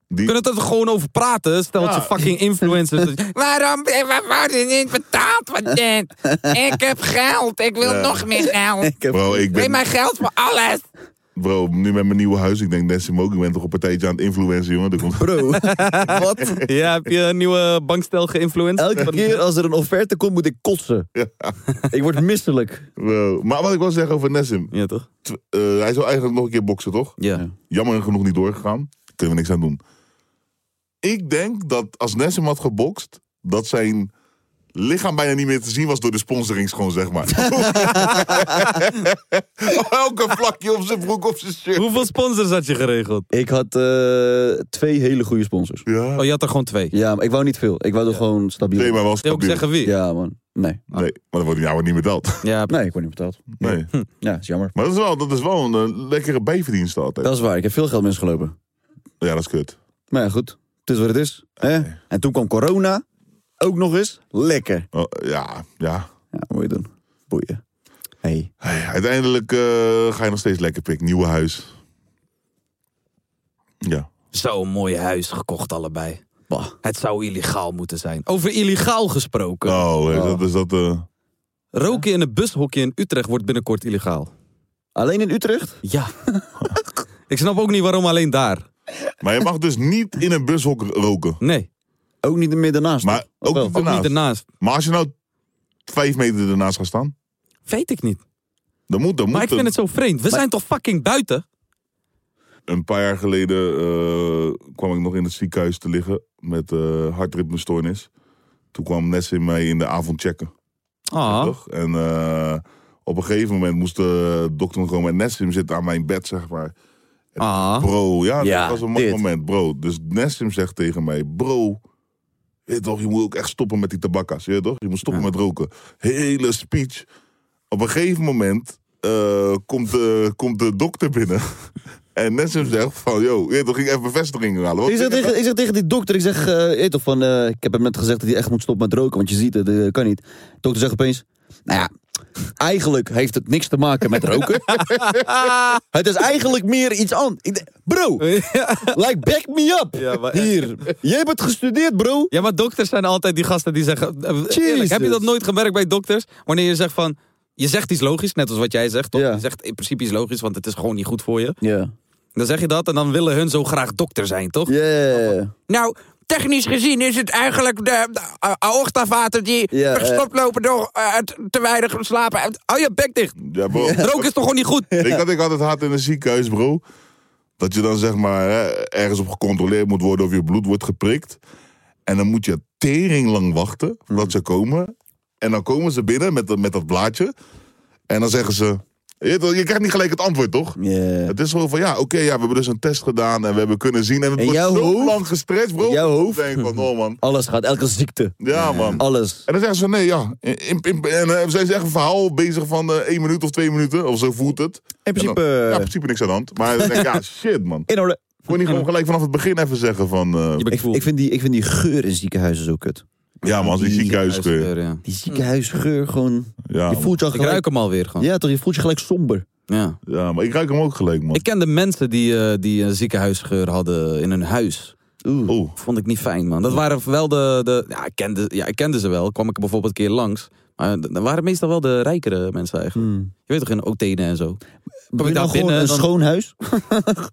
Speaker 2: Die... Ah.
Speaker 11: kunnen het er gewoon over praten. Eh, Stel dat
Speaker 2: Ja.
Speaker 11: ze fucking influencers. dus- dat-
Speaker 15: Waarom wordt je niet betaald voor dit? Ik heb geld. Ik wil
Speaker 2: Ja.
Speaker 15: nog meer geld.
Speaker 2: Bro, ik
Speaker 15: Geef
Speaker 2: ben...
Speaker 15: mij geld voor alles.
Speaker 2: Bro, nu met mijn nieuwe huis. Ik denk Nessim ook. Ik ben toch een partijtje aan het influencen, jongen. Er komt...
Speaker 3: Bro,
Speaker 11: Wat? Ja, heb je een nieuwe bankstel geïnfluenced?
Speaker 3: elke
Speaker 11: Van-
Speaker 3: keer als er een offerte komt, moet ik kotsen. Ik word misselijk.
Speaker 2: Bro, Maar wat ik wil zeggen over Nessim.
Speaker 11: Ja, toch?
Speaker 2: Tw- eh, hij zou eigenlijk nog een keer boksen, toch?
Speaker 11: Ja.
Speaker 2: Jammer genoeg niet doorgegaan. Kunnen we niks aan doen. Ik denk dat als Nessim had gebokst, dat zijn lichaam bijna niet meer te zien was door de sponsorings gewoon, zeg maar. Op Elke vlakje op zijn broek, op zijn shirt.
Speaker 11: Hoeveel sponsors had je geregeld?
Speaker 3: Ik had eh, twee hele goede sponsors.
Speaker 2: Ja.
Speaker 11: Oh, je had er gewoon twee.
Speaker 3: Ja, maar ik wou niet veel. Ik wou er gewoon stabiel.
Speaker 2: Nee, maar wel
Speaker 11: Wil je ook
Speaker 2: stabiel.
Speaker 11: zeggen wie?
Speaker 3: Ja, man. Nee.
Speaker 2: Nee, maar dan wordt hij nou niet betaald.
Speaker 11: Ja,
Speaker 3: Nee, ik word niet betaald.
Speaker 2: Nee.
Speaker 3: Ja, is jammer.
Speaker 2: Maar dat is wel, dat is wel een eh, lekkere bijverdienste altijd.
Speaker 3: Dat is waar. Ik heb veel geld misgelopen.
Speaker 2: Ja, dat is kut.
Speaker 3: Maar ja, goed. Het is wat het is. Hè? En toen kwam corona. Ook nog eens. Lekker.
Speaker 2: Oh, ja, ja.
Speaker 3: Ja, moet je doen. Boeien. Hey.
Speaker 2: Hey, uiteindelijk eh, ga je nog steeds lekker pik. Nieuwe huis. Ja.
Speaker 11: Zo'n mooi huis gekocht allebei.
Speaker 3: Bah.
Speaker 11: Het zou illegaal moeten zijn. Over illegaal gesproken.
Speaker 2: Oh, eh, dat is dat... eh,
Speaker 11: Roken in een bushokje in Utrecht wordt binnenkort illegaal.
Speaker 3: Alleen in Utrecht?
Speaker 11: Ja. ik snap ook niet waarom alleen daar.
Speaker 2: Maar je mag dus niet in een bushok roken.
Speaker 11: Nee.
Speaker 3: Ook niet meer daarnaast.
Speaker 2: Maar ook, niet
Speaker 11: Ook
Speaker 2: ernaast.
Speaker 11: niet ernaast.
Speaker 2: Maar als je nou vijf meter ernaast gaat staan,
Speaker 11: Weet ik niet.
Speaker 2: dan moet, dan moet
Speaker 11: Maar ik vind
Speaker 2: een-
Speaker 11: het zo vreemd. We zijn toch fucking buiten?
Speaker 2: Een paar jaar geleden eh, kwam ik nog in het ziekenhuis te liggen met eh hartritmestoornis. Toen kwam Nessim mij in de avond checken.
Speaker 11: Ah.
Speaker 2: Toch? En eh, op een gegeven moment moest de dokter gewoon met Nessim zitten aan mijn bed, zeg maar. En
Speaker 11: Ah.
Speaker 2: Bro, ja,
Speaker 3: Ja,
Speaker 2: dat was een mooi
Speaker 3: dit.
Speaker 2: moment, bro. Dus Nessim zegt tegen mij, bro, je, toch, je moet ook echt stoppen met die tabakka's, je, weet toch? Je moet stoppen met roken. Hele speech. Op een gegeven moment eh, komt, de, komt de dokter binnen. en Nessim zegt van, yo, je, weet toch, ging even bevestiging halen.
Speaker 3: Ik zeg, tegen, ik zeg tegen die dokter, ik zeg, eh, weet toch van, eh, ik heb hem net gezegd dat hij echt moet stoppen met roken, want je ziet het, eh, kan niet. De dokter zegt opeens, nou ja, eigenlijk heeft het niks te maken met roken. het is eigenlijk meer iets anders. Ik denk, Bro, like back me up. Hier, jij hebt het gestudeerd bro.
Speaker 11: Ja, maar dokters zijn altijd die gasten die zeggen... eh, eerlijk, heb je dat nooit gemerkt bij dokters? Wanneer je zegt van... Je zegt iets logisch, net als wat jij zegt, toch? Je zegt in principe iets logisch, want het is gewoon niet goed voor je.
Speaker 3: Ja.
Speaker 11: Dan zeg je dat en dan willen hun zo graag dokter zijn, toch?
Speaker 3: Yeah.
Speaker 15: Nou, technisch gezien is het eigenlijk de, de eh, aortavaten die
Speaker 3: Ja, eh.
Speaker 15: verstopt lopen door eh, het te weinig slapen. Hou je bek dicht.
Speaker 2: Ja, bro.
Speaker 11: Roken is toch gewoon niet goed?
Speaker 2: Ik had ik altijd haat in een ziekenhuis, bro. Dat je dan zeg maar hè, ergens op gecontroleerd moet worden of je bloed wordt geprikt. En dan moet je tering lang wachten voordat ze komen. En dan komen ze binnen met, dat- met dat blaadje. En dan zeggen ze. Je, weet wel, je krijgt niet gelijk het antwoord, toch?
Speaker 3: Yeah.
Speaker 2: Het is gewoon van ja, oké, ja, we hebben dus een test gedaan en we hebben kunnen zien. En het
Speaker 3: In
Speaker 2: wordt
Speaker 3: jouw
Speaker 2: zo
Speaker 3: hoofd?
Speaker 2: lang gestrest, bro.
Speaker 3: jouw hoofd?
Speaker 2: Ik denk van, oh man.
Speaker 3: Alles gaat, elke ziekte.
Speaker 2: Ja, man.
Speaker 3: Alles.
Speaker 2: En dan zeggen ze nee, ja. In, in- in- en eh, zijn ze echt een verhaal bezig van eh één minuut of twee minuten. Of zo voelt het.
Speaker 3: In principe,
Speaker 2: En dan-
Speaker 3: eh,
Speaker 2: ja, in principe niks aan de hand. Maar dan denk ik, ja, shit, man.
Speaker 3: In orde.
Speaker 2: Kon je niet gewoon gelijk vanaf het begin even zeggen van... eh,
Speaker 3: Ik, ik, vind die, ik vind die geur in ziekenhuizen zo kut.
Speaker 2: ja, man, die ziekenhuisgeur.
Speaker 11: Huisgeur, ja.
Speaker 3: Die ziekenhuisgeur gewoon,
Speaker 2: Ja,
Speaker 3: je
Speaker 2: man.
Speaker 3: voelt je al
Speaker 11: Nou, Ik
Speaker 3: gelijk,
Speaker 11: ruik hem alweer gewoon.
Speaker 3: ja toch, je voelt je gelijk somber.
Speaker 11: Ja.
Speaker 2: ja, maar ik ruik hem ook gelijk, man.
Speaker 11: Ik kende mensen die, eh, die een ziekenhuisgeur hadden in hun huis.
Speaker 3: Oeh.
Speaker 2: Oeh.
Speaker 11: Vond ik niet fijn, man. Dat waren wel de... de ja, ik kende, ja, ik kende ze wel. Kwam ik er bijvoorbeeld een keer langs. Maar d- dat waren meestal wel de rijkere mensen eigenlijk. Je weet toch, in Otene en zo.
Speaker 3: Heb
Speaker 11: Kom
Speaker 3: je
Speaker 11: ik daar
Speaker 3: nou gewoon
Speaker 11: binnen,
Speaker 3: een
Speaker 11: dan- Oh,
Speaker 3: schoon huis?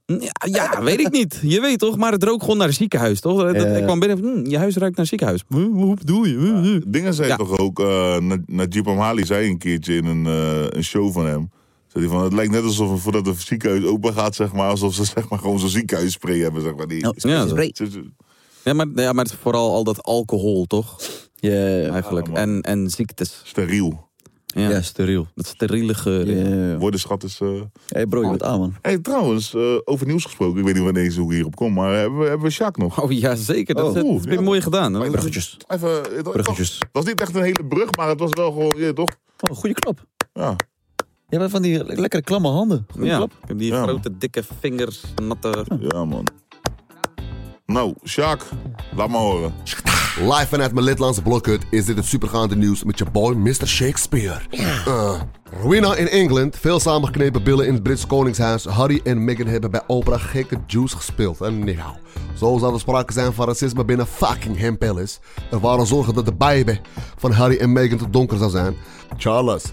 Speaker 11: Ja, ja, weet ik niet. Je weet toch, maar het rook gewoon naar ziekenhuis, toch? Dat- dat-
Speaker 3: Ja, ja.
Speaker 11: Ik kwam binnen, hm, je huis ruikt naar ziekenhuis. Hm, Hoe bedoel je? Hm, hm.
Speaker 2: Dingen zei
Speaker 11: Ja.
Speaker 2: toch ook... eh, Na- Najib Amhali zei een keertje in een, eh, een show van hem... Zei hij van, het lijkt net alsof er voordat het ziekenhuis open gaat, zeg maar... Alsof ze zeg maar gewoon zo'n ziekenhuisspray hebben, zeg maar. Die,
Speaker 3: oh,
Speaker 11: Ja, zo.
Speaker 2: Ze-
Speaker 11: Ja, maar, ja, maar het is vooral al dat alcohol, toch?
Speaker 3: Ja,
Speaker 11: Eigenlijk.
Speaker 2: Ja, man.
Speaker 11: en, en ziektes.
Speaker 2: Steriel.
Speaker 11: Ja, steriel. Dat steriele ge...
Speaker 2: Worden schat is... eh,
Speaker 3: hey bro,
Speaker 11: Oh.
Speaker 3: je bent aan, man.
Speaker 2: hey, trouwens, eh, over nieuws gesproken. Ik weet niet wanneer deze hoe ik hierop kom, maar hebben we, hebben we Sjaak nog?
Speaker 11: Oh ja, zeker. Dat is- dat heb je mooi gedaan. Hoor.
Speaker 3: Oh, Nou, Bruggetjes.
Speaker 2: Even, het was-
Speaker 3: Bruggetjes.
Speaker 2: Het was niet echt een hele brug, maar het was wel gewoon, je weet toch?
Speaker 3: Oh, goede klap.
Speaker 2: Ja.
Speaker 3: Je hebt van die le- lekkere klamme handen. Goeie
Speaker 11: Ja,
Speaker 3: klap.
Speaker 11: ik heb die grote, dikke vingers, natte...
Speaker 2: Ja, man. Nou, Sjaak, laat maar horen.
Speaker 1: Live vanuit mijn Litlandse blokhut is dit het supergaande nieuws met je boy Mr. Shakespeare. Eh, Rowena in Engeland, veel samengeknepen billen in het Britse koningshuis. Harry en Meghan hebben bij Oprah gekke juice gespeeld. En nou, zo zou er sprake zijn van racisme binnen fucking Ham Palace. Er waren zorgen dat de bijbe van Harry en Meghan te donker zou zijn. Charles.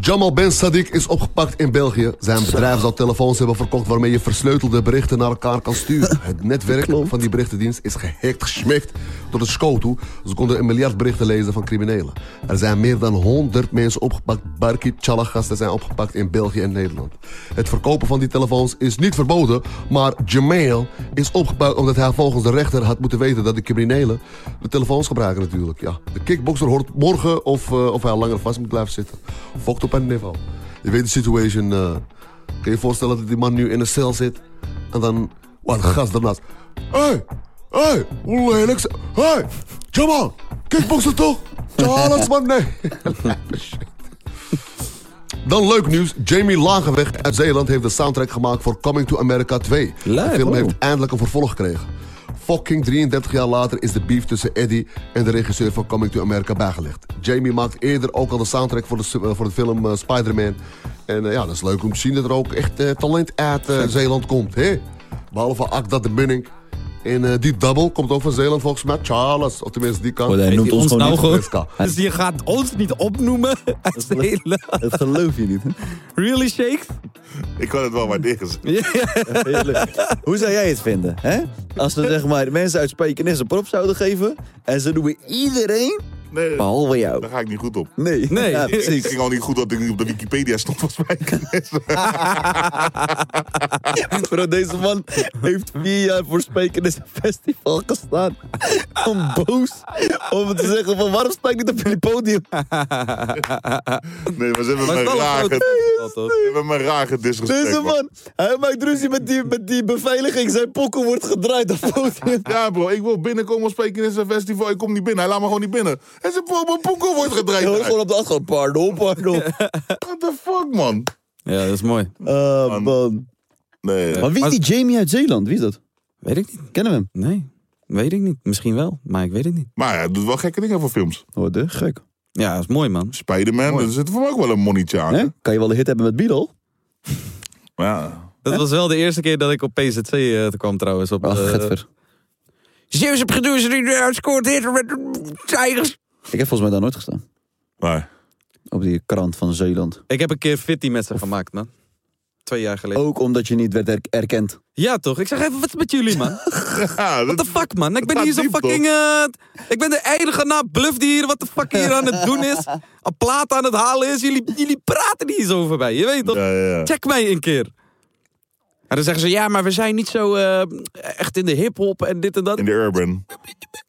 Speaker 1: Jamal Ben Sadiq is opgepakt in België. Zijn bedrijf zou telefoons hebben verkocht waarmee je versleutelde berichten naar elkaar kan sturen. Het netwerk van die berichtendienst is gehackt, gesmikt door de SCO toe. Ze konden een miljard berichten lezen van criminelen. Er zijn meer dan 100 mensen opgepakt. Barki Challagasten zijn opgepakt in België en Nederland. Het verkopen van die telefoons is niet verboden, maar Jamail is opgepakt omdat hij volgens de rechter had moeten weten dat de criminelen de telefoons gebruiken natuurlijk. Ja, de kickboxer hoort morgen of, eh, of hij langer vast moet blijven zitten. Fokt op een niveau. Je weet de situation. eh. kun je je voorstellen dat die man nu in een cel zit en dan... Wat een gast daarnaast. Hé, hé, hoe lelijk ze... Hé, Jamal, kickboxer toch? Charles, man, nee. Dan leuk nieuws. Jamie Lagerweg uit Zeeland heeft de soundtrack gemaakt voor Coming to America 2. de film
Speaker 3: oh.
Speaker 1: heeft eindelijk een vervolg gekregen. Fucking 33 jaar later is de beef tussen Eddie en de regisseur van Coming to America bijgelegd. Jamie maakt eerder ook al de soundtrack voor de, su- eh, voor de film eh, Spider-Man. En eh, ja, dat is leuk om te zien dat er ook echt eh, talent uit eh, Zeeland komt. Hè? Behalve Akda de Munning. En eh, die double komt ook van Zeeland volgens mij. Charles, of tenminste die kant.
Speaker 3: Oh, hij noemt ons nou gewoon.
Speaker 11: Dus je gaat ons niet opnoemen uit Nederland.
Speaker 3: Dat geloof je niet. hè?
Speaker 11: Really, Shakes?
Speaker 2: Ik kan het wel waarderen.
Speaker 3: Heerlijk. Hoe zou jij het vinden? Hè? Als ze zeg maar, de mensen uit Spijkenisse een prop zouden geven. En ze noemen iedereen.
Speaker 2: Nee,
Speaker 3: Behalve jou.
Speaker 2: Daar ga ik niet goed op.
Speaker 3: Nee.
Speaker 11: Nee.
Speaker 3: Ja,
Speaker 2: Het
Speaker 3: precies.
Speaker 2: ging al niet goed dat ik niet op de Wikipedia stond, volgens mij.
Speaker 3: Bro, deze man heeft vier jaar voor Spijkenisse Festival gestaan. Om boos. Om te zeggen van waarom sta ik niet op jullie podium?
Speaker 2: Nee, maar ze hebben
Speaker 3: Maar
Speaker 2: me
Speaker 3: het is wel een
Speaker 2: raar
Speaker 3: groot
Speaker 2: ged-
Speaker 11: festival, toch?
Speaker 2: Ze hebben me raar gedisrespect.
Speaker 3: Deze
Speaker 2: man.
Speaker 3: man, hij maakt ruzie met die, met die beveiliging. Zijn pokkel wordt gedraaid op podium.
Speaker 2: Ja, bro, ik wil binnenkomen op spreken in zijn festival. Ik kom niet binnen. Hij laat me gewoon niet binnen. En zijn po- mijn poeko wordt gedraaid.
Speaker 3: Je hoort gewoon
Speaker 2: What
Speaker 3: op de achtergrond, pardon, pardon.
Speaker 2: the fuck, man?
Speaker 11: Ja, dat is mooi.
Speaker 3: Ah, man.
Speaker 2: Nee.
Speaker 3: Maar wie is die Jamie uit Zeeland? Wie is dat?
Speaker 11: Weet ik niet.
Speaker 3: Kennen we hem?
Speaker 11: Nee, weet ik niet. Misschien wel, maar ik weet het niet.
Speaker 2: Maar hij doet wel gekke dingen voor films.
Speaker 3: Oh, de gek.
Speaker 11: Ja, dat is mooi, man.
Speaker 2: Spider-Man,
Speaker 11: Mooi.
Speaker 2: er zit voor mij ook wel een monnetje aan.
Speaker 3: Hè? Kan je wel een hit hebben met Beatle?
Speaker 2: Maar ja.
Speaker 11: Dat was wel de eerste keer dat ik op PZC eh, kwam, trouwens. Op,
Speaker 3: Ach,
Speaker 11: eh,
Speaker 3: getver.
Speaker 15: Zeeuwse producer die nu uitscoort hit met tijgers.
Speaker 3: Ik heb volgens mij daar nooit gestaan.
Speaker 2: Waar?
Speaker 3: Op die krant van Zeeland.
Speaker 11: ik heb een keer fitty met ze gemaakt, man. Twee jaar geleden.
Speaker 3: Ook omdat je niet werd her- erkend.
Speaker 11: Ja, toch? Ik zeg even, wat is met jullie, man?
Speaker 2: Ja,
Speaker 11: What
Speaker 3: Ah,
Speaker 2: dat-
Speaker 11: the fuck, man? Ik ben
Speaker 2: gaat
Speaker 11: hier zo'n
Speaker 2: diep,
Speaker 11: fucking... eh, ik ben de enige na bluff die hier... Wat de fuck hier aan het doen is. Een plaat aan het halen is. Jullie, jullie praten niet eens over mij. Je weet toch?
Speaker 2: ja, ja.
Speaker 11: Check mij een keer. En dan zeggen ze... Ja, maar we zijn niet zo eh, echt in de hiphop en dit en dat.
Speaker 2: In de urban.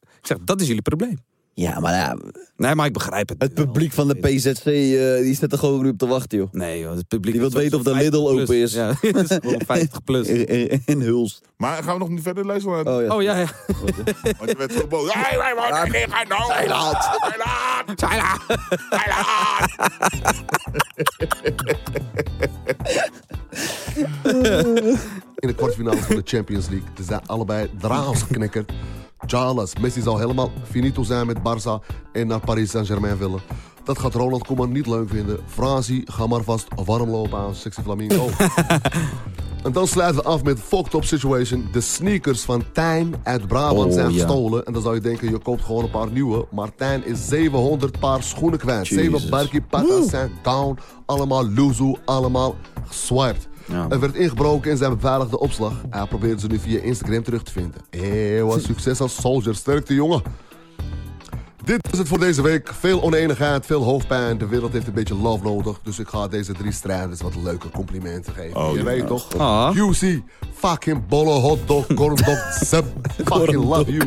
Speaker 11: Ik zeg, dat is jullie probleem.
Speaker 3: Ja, maar ja,
Speaker 11: Nee, maar ik begrijp het.
Speaker 3: het publiek van de PZC eh, die zit er gewoon nu op te wachten, joh.
Speaker 11: Nee, joh, het publiek...
Speaker 3: Die wil
Speaker 11: is
Speaker 3: weten of de
Speaker 11: 50
Speaker 3: Lidl
Speaker 11: plus.
Speaker 3: open is.
Speaker 11: Ja, het is gewoon 50 plus.
Speaker 3: In, in, in Huls.
Speaker 2: Maar gaan we nog niet verder luisteren?
Speaker 3: Oh ja.
Speaker 11: Oh ja, ja.
Speaker 2: Want je werd zo boos. Hey, hey, man, ik ga nou. Thailand. Thailand. Thailand.
Speaker 1: in de kwartfinale van de Champions League. Ze zijn allebei draals geknikkerd. Charles, Messi zal helemaal finito zijn met Barça en naar Paris Saint-Germain willen. Dat gaat Ronald Koeman niet leuk vinden. Fransie, ga maar vast warm lopen aan Sexy Flamingo. en dan sluiten we af met fucked up situation. De sneakers van Tijn uit Brabant
Speaker 3: Oh,
Speaker 1: zijn
Speaker 3: ja.
Speaker 1: gestolen. En dan zou je denken, je koopt gewoon een paar nieuwe. Maar Tijn is 700 paar schoenen kwijt.
Speaker 3: Jezus.
Speaker 1: 7 barkie patas zijn down. Allemaal loezoe, allemaal geswiped.
Speaker 11: Ja.
Speaker 1: Er werd ingebroken in zijn beveiligde opslag. Hij probeerde ze nu via Instagram terug te vinden. Hé, wat succes als soldier. Sterkte, jongen. Dit is het voor deze week. Veel oneenigheid, veel hoofdpijn. De wereld heeft een beetje love nodig. Dus ik ga deze drie strijders wat leuke complimenten geven.
Speaker 2: Oh,
Speaker 1: Je
Speaker 2: ja.
Speaker 1: weet toch?
Speaker 11: Ah.
Speaker 1: QC, fucking bolle hotdog, corndog, sub. Fucking love you.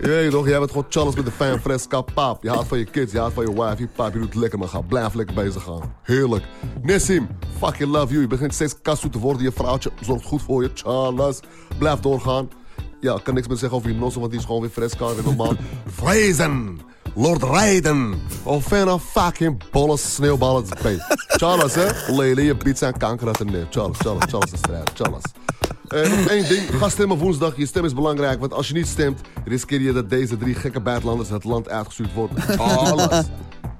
Speaker 1: Je weet toch, jij bent gewoon Charles met de fan fresca paap. Je houdt van je kids, je houdt van je wife, je paap. Je doet lekker, maar ga blijf lekker bezig gaan. Heerlijk. Nessim, fucking love you. Je begint steeds kassoe te worden. Je vrouwtje zorgt goed voor je. Charles, blijf doorgaan. Ja, ik kan niks meer zeggen over je nossen, want die is gewoon weer fresca en weer normaal. Vrezen, Lord Rijden. Of vanaf fucking bolle sneeuwballen bij. Charles, hè? Lele, je biedt zijn kanker uit de neer. Charles, Charles, Charles is strijd. Charles. En nog één ding, ga stemmen woensdag. Je stem is belangrijk, want als je niet stemt, riskeer je dat deze drie gekke buitenlanders het land uitgestuurd worden. Alles.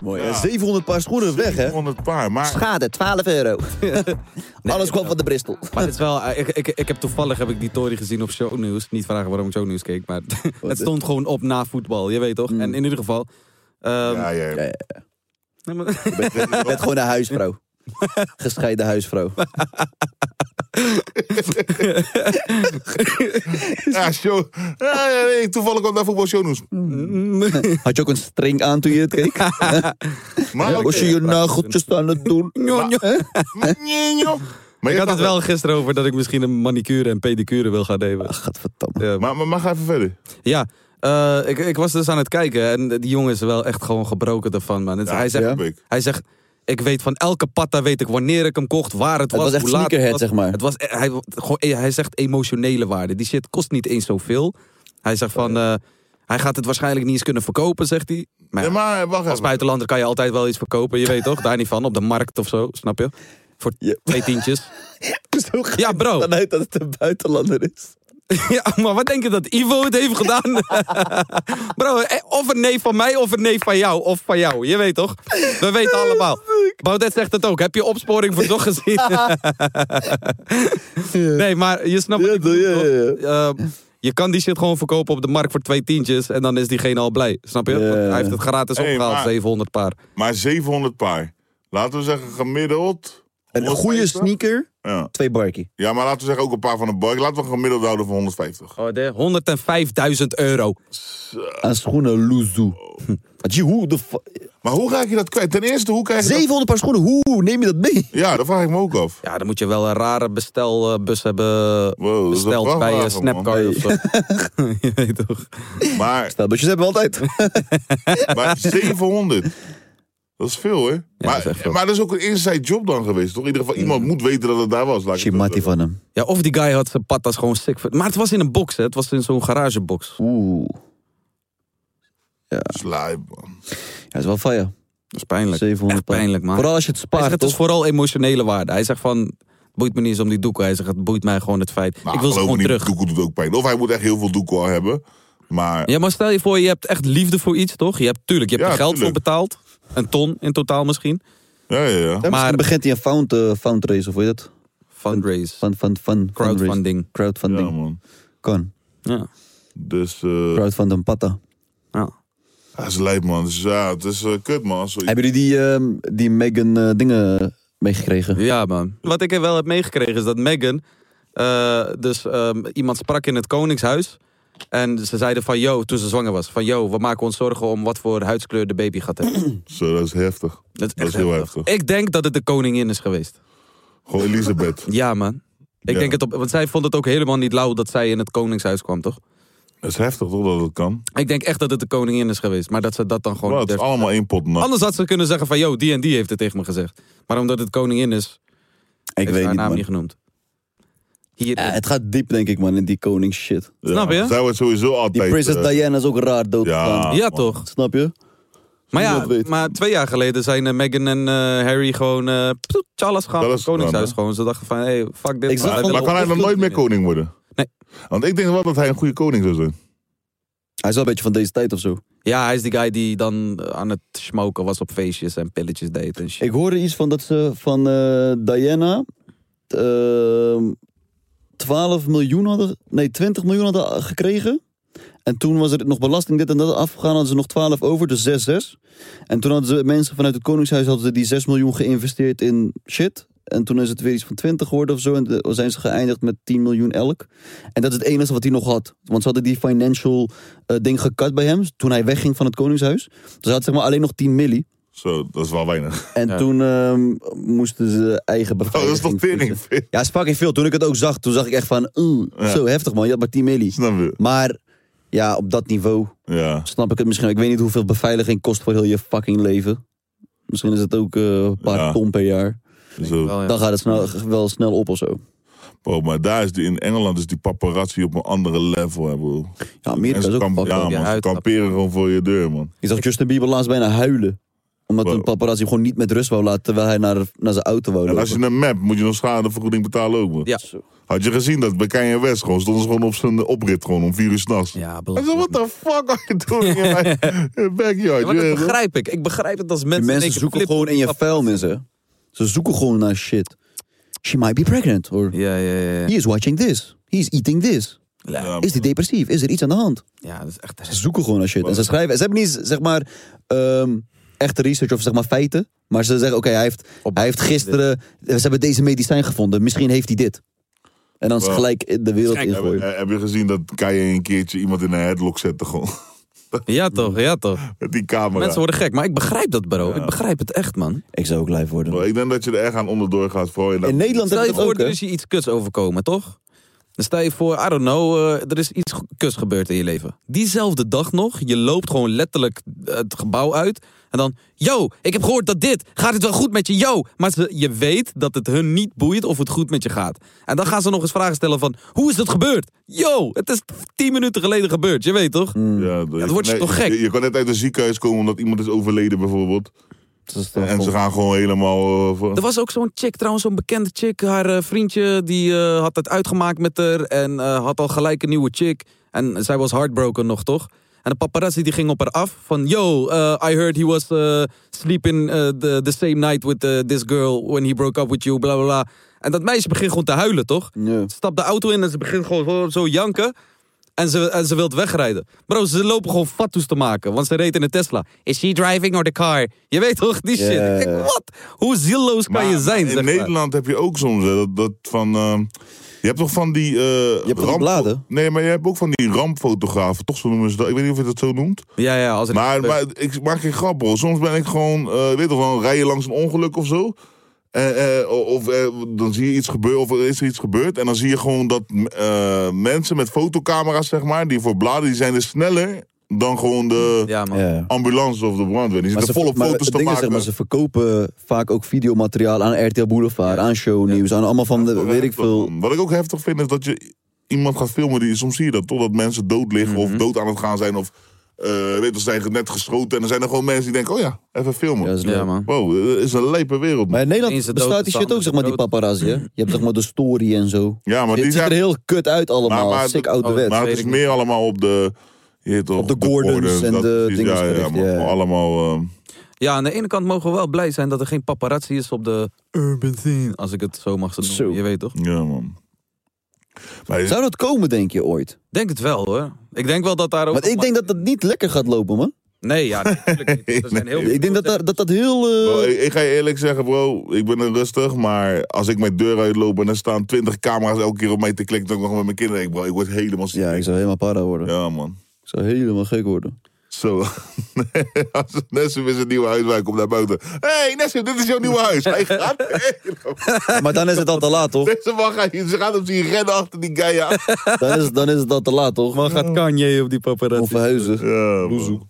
Speaker 16: Mooi,
Speaker 1: hè?
Speaker 16: 700 paar schoenen weg, hè?
Speaker 2: 700 paar, maar...
Speaker 16: Schade, 12 euro. Alles kwam van de Bristol.
Speaker 3: Maar het is wel, eh, ik, ik, ik heb toevallig heb ik die Tory gezien op shownieuws. Niet vragen waarom ik shownieuws keek, maar het stond gewoon op na voetbal. Je weet toch?
Speaker 16: Mm.
Speaker 3: En in ieder geval. ehm, Nee, maar-
Speaker 16: Je bent gewoon een huisvrouw. Gescheiden huisvrouw.
Speaker 2: Ja, show. Ja, ja, nee, toevallig kwam daar voetbalshow nieuws.
Speaker 16: Had je ook een string aan toen je het keek?
Speaker 2: Maar oké.
Speaker 16: Was je je nageltjes aan het doen?
Speaker 3: Maar ik had
Speaker 2: wel-
Speaker 3: het wel gisteren over dat ik misschien een manicure en pedicure wil gaan nemen.
Speaker 16: Gadverdamme.
Speaker 2: Maar, maar, maar ga even verder.
Speaker 3: Ja, eh, ik, ik was dus aan het kijken en die jongen is wel echt gewoon gebroken ervan, man. Het-
Speaker 2: Ja,
Speaker 3: hij, zegt,
Speaker 2: snap ik.
Speaker 3: hij zegt, ik weet van elke patta weet ik wanneer ik hem kocht, waar het
Speaker 16: Het
Speaker 3: was,
Speaker 16: was echt
Speaker 3: hoe laat het
Speaker 16: sneakerhead,
Speaker 3: was.
Speaker 16: zeg maar.
Speaker 3: Het was, eh, hij, gewoon, eh, hij zegt emotionele waarde. Die shit kost niet eens zoveel. Hij zegt van, eh, hij gaat het waarschijnlijk niet eens kunnen verkopen, zegt hij. Maar, ja,
Speaker 2: Nee, maar wacht
Speaker 3: als
Speaker 2: even.
Speaker 3: buitenlander kan je altijd wel iets verkopen, je weet toch? Daar niet van, op de markt of zo, snap je? Voor twee tientjes. ja, bro. Dan
Speaker 16: uit dat het een buitenlander is.
Speaker 3: Ja, maar wat denk je dat Ivo het heeft gedaan? Bro, eh, of een nee van mij, of een nee van jou, of van jou. Je weet toch? We weten allemaal. Baudet zegt het ook. Heb je opsporing verzocht gezien? nee, maar je snapt het. Ehm, je kan die shit gewoon verkopen op de markt voor twee tientjes. En dan is diegene al blij. Snap je? Want Hij heeft het gratis
Speaker 2: Hey,
Speaker 3: opgehaald,
Speaker 2: maar-
Speaker 3: 700 paar.
Speaker 2: Maar 700 paar. Laten we zeggen gemiddeld.
Speaker 16: Een goede
Speaker 2: 150?
Speaker 16: sneaker,
Speaker 2: Ja.
Speaker 16: twee barkie.
Speaker 2: ja, maar laten we zeggen ook een paar van een bark. Laten we een gemiddeld houden van 150.
Speaker 3: Oh, de 105.000 euro.
Speaker 16: Aan schoenen loezoe. Want je, hoe de fu-
Speaker 2: Maar hoe raak je dat kwijt? Ten eerste, hoe krijg je dat-
Speaker 16: 700 paar schoenen, hoe neem je dat mee?
Speaker 2: Ja, dat vraag ik me ook af.
Speaker 3: Ja, dan moet je wel een rare bestelbus hebben
Speaker 2: dat is een
Speaker 3: besteld bij eh,
Speaker 2: vrachtwagen,
Speaker 3: Snapcard
Speaker 2: man.
Speaker 3: of eh. zo. je weet toch?
Speaker 2: Maar,
Speaker 16: Stelbusjes hebben we altijd.
Speaker 2: maar 700. Dat is veel, hè? maar, maar dat is ook een eerste job dan geweest, toch? In ieder geval, iemand moet weten dat het daar was. laat ik het zo
Speaker 16: Chimati
Speaker 2: zeggen.
Speaker 16: van hem.
Speaker 3: Ja, of die guy had zijn patas gewoon sick. ver- Maar het was in een box, hè? Het was in zo'n garagebox.
Speaker 16: Oeh.
Speaker 2: Slijp, man. Nou,
Speaker 16: Ja, dat is wel fire.
Speaker 3: Dat is pijnlijk.
Speaker 16: 700
Speaker 3: Echt pijnlijk, man.
Speaker 16: Vooral als je het
Speaker 3: Hij
Speaker 16: spaart,
Speaker 3: zegt, het is
Speaker 16: toch?
Speaker 3: vooral emotionele waarde. Hij zegt van, het boeit me niet eens om die doeken. Hij zegt, het boeit mij gewoon het feit.
Speaker 2: Nou,
Speaker 3: ik wil ze
Speaker 2: geloof
Speaker 3: gewoon
Speaker 2: me niet,
Speaker 3: terug.
Speaker 2: Doekoe doet ook pijn. Of hij moet echt heel veel doekoe al hebben. Maar
Speaker 3: Ja, maar stel je voor, je hebt echt liefde voor iets, toch? Je hebt, tuurlijk, je hebt
Speaker 2: Ja,
Speaker 3: er geld
Speaker 2: tuurlijk.
Speaker 3: voor betaald. Een ton in totaal misschien.
Speaker 2: ja, ja, ja.
Speaker 16: Ja,
Speaker 3: maar-
Speaker 16: misschien begint hij een found, eh, fundraise, of hoe heet dat?
Speaker 3: Fundraise.
Speaker 16: Fund, fund, fund,
Speaker 3: Crowdfunding.
Speaker 16: fundraise. Crowdfunding.
Speaker 2: Ja, man.
Speaker 16: Kan.
Speaker 3: Ja.
Speaker 2: Dus, eh
Speaker 16: Crowdfunding patta.
Speaker 2: dat is lijp, man. Dus ja, het is eh, kut, man. Zo-
Speaker 16: Hebben jullie die, ehm, die Megan eh, dingen meegekregen?
Speaker 3: Ja, man. Wat ik wel heb meegekregen is dat Meghan... eh, dus ehm, iemand sprak in het Koningshuis. En ze zeiden van, yo, toen ze zwanger was. Van, yo, we maken ons zorgen om wat voor huidskleur de baby gaat hebben.
Speaker 2: Zo, dat is heftig.
Speaker 3: Dat is
Speaker 2: Dat
Speaker 3: echt
Speaker 2: is heel
Speaker 3: heftig.
Speaker 2: heftig.
Speaker 3: Ik denk dat het de koningin is geweest.
Speaker 2: Gewoon Elisabeth.
Speaker 3: Ja, man. Ik
Speaker 2: Ja.
Speaker 3: denk het op, want zij vond het ook helemaal niet lauw dat zij in het koningshuis kwam, toch?
Speaker 2: Dat is heftig, toch, dat het kan?
Speaker 3: Ik denk echt dat het de koningin is geweest, maar dat ze dat dan gewoon.
Speaker 2: Maar het is
Speaker 3: durft-
Speaker 2: allemaal één pot nat.
Speaker 3: Anders had ze kunnen zeggen van, yo, die en die heeft het tegen me gezegd. Maar omdat het koningin is,
Speaker 16: Ik
Speaker 3: heeft
Speaker 16: weet
Speaker 3: haar
Speaker 16: niet,
Speaker 3: naam
Speaker 16: man.
Speaker 3: niet genoemd. Hier,
Speaker 16: Ja, het gaat diep, denk ik, man, in die koning shit.
Speaker 2: Ja,
Speaker 3: snap je?
Speaker 2: Zij wordt sowieso altijd...
Speaker 16: Die Prinses
Speaker 2: eh,
Speaker 16: Diana is ook raar doodgegaan.
Speaker 2: Ja,
Speaker 3: Ah, ja,
Speaker 2: man.
Speaker 3: toch?
Speaker 16: Snap je?
Speaker 3: Maar
Speaker 16: Niemand
Speaker 3: ja,
Speaker 16: weet.
Speaker 3: maar twee jaar geleden zijn Megan en eh, Harry gewoon... eh psoet, Charles gaan
Speaker 2: Charles
Speaker 3: het koningshuis
Speaker 2: gaan,
Speaker 3: gewoon. Ze dachten van, hey, fuck dit.
Speaker 16: Ik zag
Speaker 3: man.
Speaker 16: van-
Speaker 2: Maar
Speaker 3: Wij willen
Speaker 2: kan hij
Speaker 3: ons
Speaker 2: dan nooit meer
Speaker 3: doen.
Speaker 2: koning worden?
Speaker 3: Nee.
Speaker 2: Want ik denk wel dat hij een goede koning zou zijn.
Speaker 16: Hij is wel een beetje van deze tijd of zo.
Speaker 3: Ja, hij is die guy die dan eh, aan het smoken was op feestjes en pilletjes deed en shit.
Speaker 16: Ik hoorde iets van dat ze van eh, Diana ehm 12 miljoen hadden, nee 20 miljoen hadden gekregen. En toen was er nog belasting dit en dat afgegaan, hadden ze nog 12 over, dus 6-6. En toen hadden ze mensen vanuit het Koningshuis hadden ze die 6 miljoen geïnvesteerd in shit. En toen is het weer iets van 20 geworden of zo. En de- zijn ze geëindigd met 10 miljoen elk. En dat is het enige wat hij nog had. Want ze hadden die financial eh, ding gekat bij hem. Toen hij wegging van het Koningshuis. Dus hij had zeg maar alleen nog 10 milli.
Speaker 2: Zo, dat is wel weinig.
Speaker 16: En toen ehm, moesten ze eigen
Speaker 2: Oh, dat is
Speaker 16: beveiliging...
Speaker 2: toch tering?
Speaker 16: fixen. Ja, het is fucking veel. Toen ik het ook zag, toen zag ik echt van... oeh,
Speaker 2: Ja.
Speaker 16: Zo heftig man, je had maar 10 milli.
Speaker 2: Snap je?
Speaker 16: Maar
Speaker 3: Ja, op dat niveau. Snap ik het misschien. Ik weet niet hoeveel beveiliging kost voor heel je fucking leven. Misschien is het ook eh, een paar
Speaker 2: Ja.
Speaker 3: ton per jaar.
Speaker 2: Zo. wel, ja.
Speaker 3: Dan gaat het snel, wel snel op of zo.
Speaker 2: Bro, maar daar is die, in Engeland is die paparazzi op een andere level, hè, bro.
Speaker 3: Ja, Amerika is ook fucked
Speaker 2: Ja,
Speaker 3: up.
Speaker 2: man,
Speaker 3: Je
Speaker 2: ze
Speaker 3: huid-
Speaker 2: kamperen gewoon voor je deur, man.
Speaker 3: Ik zag Justin Bieber laatst bijna huilen. Omdat een paparazzi hem gewoon niet met rust wou laten terwijl hij naar, naar zijn auto wou
Speaker 2: En
Speaker 3: lopen.
Speaker 2: als je een map, moet je nog schadevergoeding betalen ook, man.
Speaker 11: Ja.
Speaker 2: Had je gezien dat bij Kanye West gewoon, stonden ze gewoon op zijn oprit gewoon om vier uur s'nachts.
Speaker 11: Ja,
Speaker 2: Ik zei, what the fuck are you doing in my backyard?
Speaker 11: Ja,
Speaker 2: je
Speaker 11: maar dat
Speaker 2: weet toch?
Speaker 11: begrijp ik. Ik begrijp het als
Speaker 3: Die
Speaker 11: mensen...
Speaker 3: mensen
Speaker 11: denken,
Speaker 3: zoeken
Speaker 11: flip,
Speaker 3: gewoon in je vuilnis, hè. Ze zoeken gewoon naar shit. She might be pregnant. Or
Speaker 11: Ja, ja, ja. ja.
Speaker 3: he is watching this. He is eating this. Is die depressief? Is er iets aan de hand?
Speaker 11: Ja, dat is echt...
Speaker 3: Ze zoeken gewoon naar shit. En ze schrijven. Ze hebben niet, zeg maar, ehm, echte research of zeg maar feiten. Maar ze zeggen, oké, hij, heeft, hij heeft gisteren... Ze hebben deze medicijn gevonden. Misschien heeft hij dit. En dan is
Speaker 2: Wow.
Speaker 3: gelijk de wereld
Speaker 2: Kijk, heb,
Speaker 3: ingooien.
Speaker 2: heb je gezien dat Kanye een keertje iemand in een headlock zette gewoon?
Speaker 11: Ja toch, ja toch.
Speaker 2: Met die camera.
Speaker 11: Mensen worden gek, maar ik begrijp dat bro. Ik begrijp het echt man.
Speaker 3: Ik zou ook live worden.
Speaker 2: Maar ik denk dat je er echt aan onderdoor gaat. Vooral in,
Speaker 11: Stel je voor, er is je iets kuts overkomen, toch? Dan stel je voor, I don't know, eh, er is iets ge- kuts gebeurd in je leven. Diezelfde dag nog, je loopt gewoon letterlijk eh, het gebouw uit. En dan, yo, ik heb gehoord dat dit, gaat het wel goed met je, yo. Maar ze, je weet dat het hun niet boeit of het goed met je gaat. En dan gaan ze nog eens vragen stellen van, hoe is dat gebeurd? Yo, het is tien minuten geleden gebeurd, je weet toch?
Speaker 2: Ja,
Speaker 11: dan word je toch gek.
Speaker 2: Je, je kan net uit een ziekenhuis komen omdat iemand is overleden bijvoorbeeld. En ze gaan gewoon helemaal... eh, voor-
Speaker 11: Er was ook zo'n chick, trouwens, zo'n bekende chick. Haar eh, vriendje die eh, had het uitgemaakt met haar en eh, had al gelijk een nieuwe chick. En zij was heartbroken nog, toch? En de paparazzi die ging op haar af van... Yo, eh, I heard he was eh, sleeping eh, the, the same night with eh, this girl when he broke up with you, bla bla bla. En dat meisje begint gewoon te huilen, toch?
Speaker 3: Ze
Speaker 11: stapt de auto in en ze begint gewoon zo- zo janken. En ze, en ze wilt wegrijden. Bro, ze lopen gewoon fatsoes te maken, want ze reed in een Tesla. Is she driving or the car? Je weet toch, die shit.
Speaker 2: Ja.
Speaker 11: Ik denk, wat? Hoe zielloos kan je zijn,
Speaker 2: in
Speaker 11: zeg maar.
Speaker 2: Nederland heb je ook soms hè, dat, dat van... eh, je hebt toch van die... eh je
Speaker 3: die bladen?
Speaker 2: Nee, maar je hebt ook van die rampfotografen. Toch zo noemen ze dat. Ik weet niet of je dat zo noemt.
Speaker 11: Ja, ja, als er
Speaker 2: Maar, maar ik maak geen grap, bro. Soms ben ik gewoon, eh, weet je wel, rij je langs een ongeluk of zo. Eh, eh, of eh, dan zie je iets gebeuren, of er is er iets gebeurd. En dan zie je gewoon dat eh, mensen met fotocamera's, zeg maar, die voor bladen, die zijn er sneller dan gewoon de ambulance of de brandweer. Die
Speaker 3: Maar
Speaker 2: zitten
Speaker 3: ze-
Speaker 2: volop
Speaker 3: maar
Speaker 2: foto's
Speaker 3: het
Speaker 2: te
Speaker 3: ding is,
Speaker 2: maken.
Speaker 3: zeg maar, ze verkopen vaak ook videomateriaal aan RTL Boulevard, aan shownieuws, aan allemaal van, de, weet ik veel.
Speaker 2: Wat ik ook heftig vind, is dat je iemand gaat filmen, die, soms zie je dat, toch? Dat mensen dood liggen
Speaker 3: Mhm.
Speaker 2: of dood aan het gaan zijn. Of, eh, weet je, ze zijn net geschoten. En dan zijn er gewoon mensen die denken, oh ja, even filmen.
Speaker 3: Ja, is leuk. Ja, man.
Speaker 2: Wow, het is een lepe wereld.
Speaker 3: Maar in
Speaker 2: Eens de
Speaker 3: Nederland
Speaker 2: dood,
Speaker 3: bestaat die
Speaker 2: de
Speaker 3: shit ook,
Speaker 2: ander
Speaker 3: zeg maar,
Speaker 2: de
Speaker 3: die paparazzi. hè? Je hebt zeg maar de story en zo.
Speaker 2: Ja, maar
Speaker 3: Het
Speaker 2: die
Speaker 3: ziet
Speaker 2: zijn- Nou,
Speaker 3: er heel kut uit allemaal,
Speaker 2: Maar, maar,
Speaker 3: sick
Speaker 2: het-
Speaker 3: ouderwets.
Speaker 2: maar het is meer allemaal op de... je weet toch, op de Gordons,
Speaker 3: en
Speaker 2: dat
Speaker 3: de
Speaker 2: precies,
Speaker 3: dingen
Speaker 2: Ja, ja,
Speaker 3: gericht,
Speaker 2: maar
Speaker 3: ja.
Speaker 2: allemaal... ehm,
Speaker 11: Ja, aan de ene kant mogen we wel blij zijn dat er geen paparazzi is op de urban scene. Als ik het zo mag noemen, je weet toch?
Speaker 2: Ja, man.
Speaker 3: Zou dat komen, denk je, ooit?
Speaker 11: Denk het wel, hoor. Ik denk wel dat daar ook...
Speaker 3: Want ik denk dat dat niet lekker gaat lopen, man.
Speaker 11: Nee, ja, natuurlijk niet. Er zijn heel veel-
Speaker 3: Ik denk dat daar- dat, dat heel... eh,
Speaker 2: Bro, ik, ik ga je eerlijk zeggen, bro. Ik ben er rustig, maar als ik mijn deur uitloop en er staan twintig camera's elke keer op mij te klikken, dan ook nog met mijn kinderen. Ik, bro, ik word helemaal ziek.
Speaker 3: Ja, ik zou helemaal para worden.
Speaker 2: Ja, man.
Speaker 3: Ik zou helemaal gek worden.
Speaker 2: Zo. als Nessim is een nieuwe huis, wij komt naar buiten. Hé, hey, Nessim, dit is jouw nieuwe huis. Hij gaat.
Speaker 3: Maar dan is het al te laat, toch?
Speaker 2: Deze man gaat, ze gaan hem zien rennen achter die guy aan.
Speaker 3: Dan is, dan is het al te laat, toch? Maar
Speaker 11: gaat Kanye op die paparazzi?
Speaker 3: Of verhuizen.
Speaker 2: Ja, man.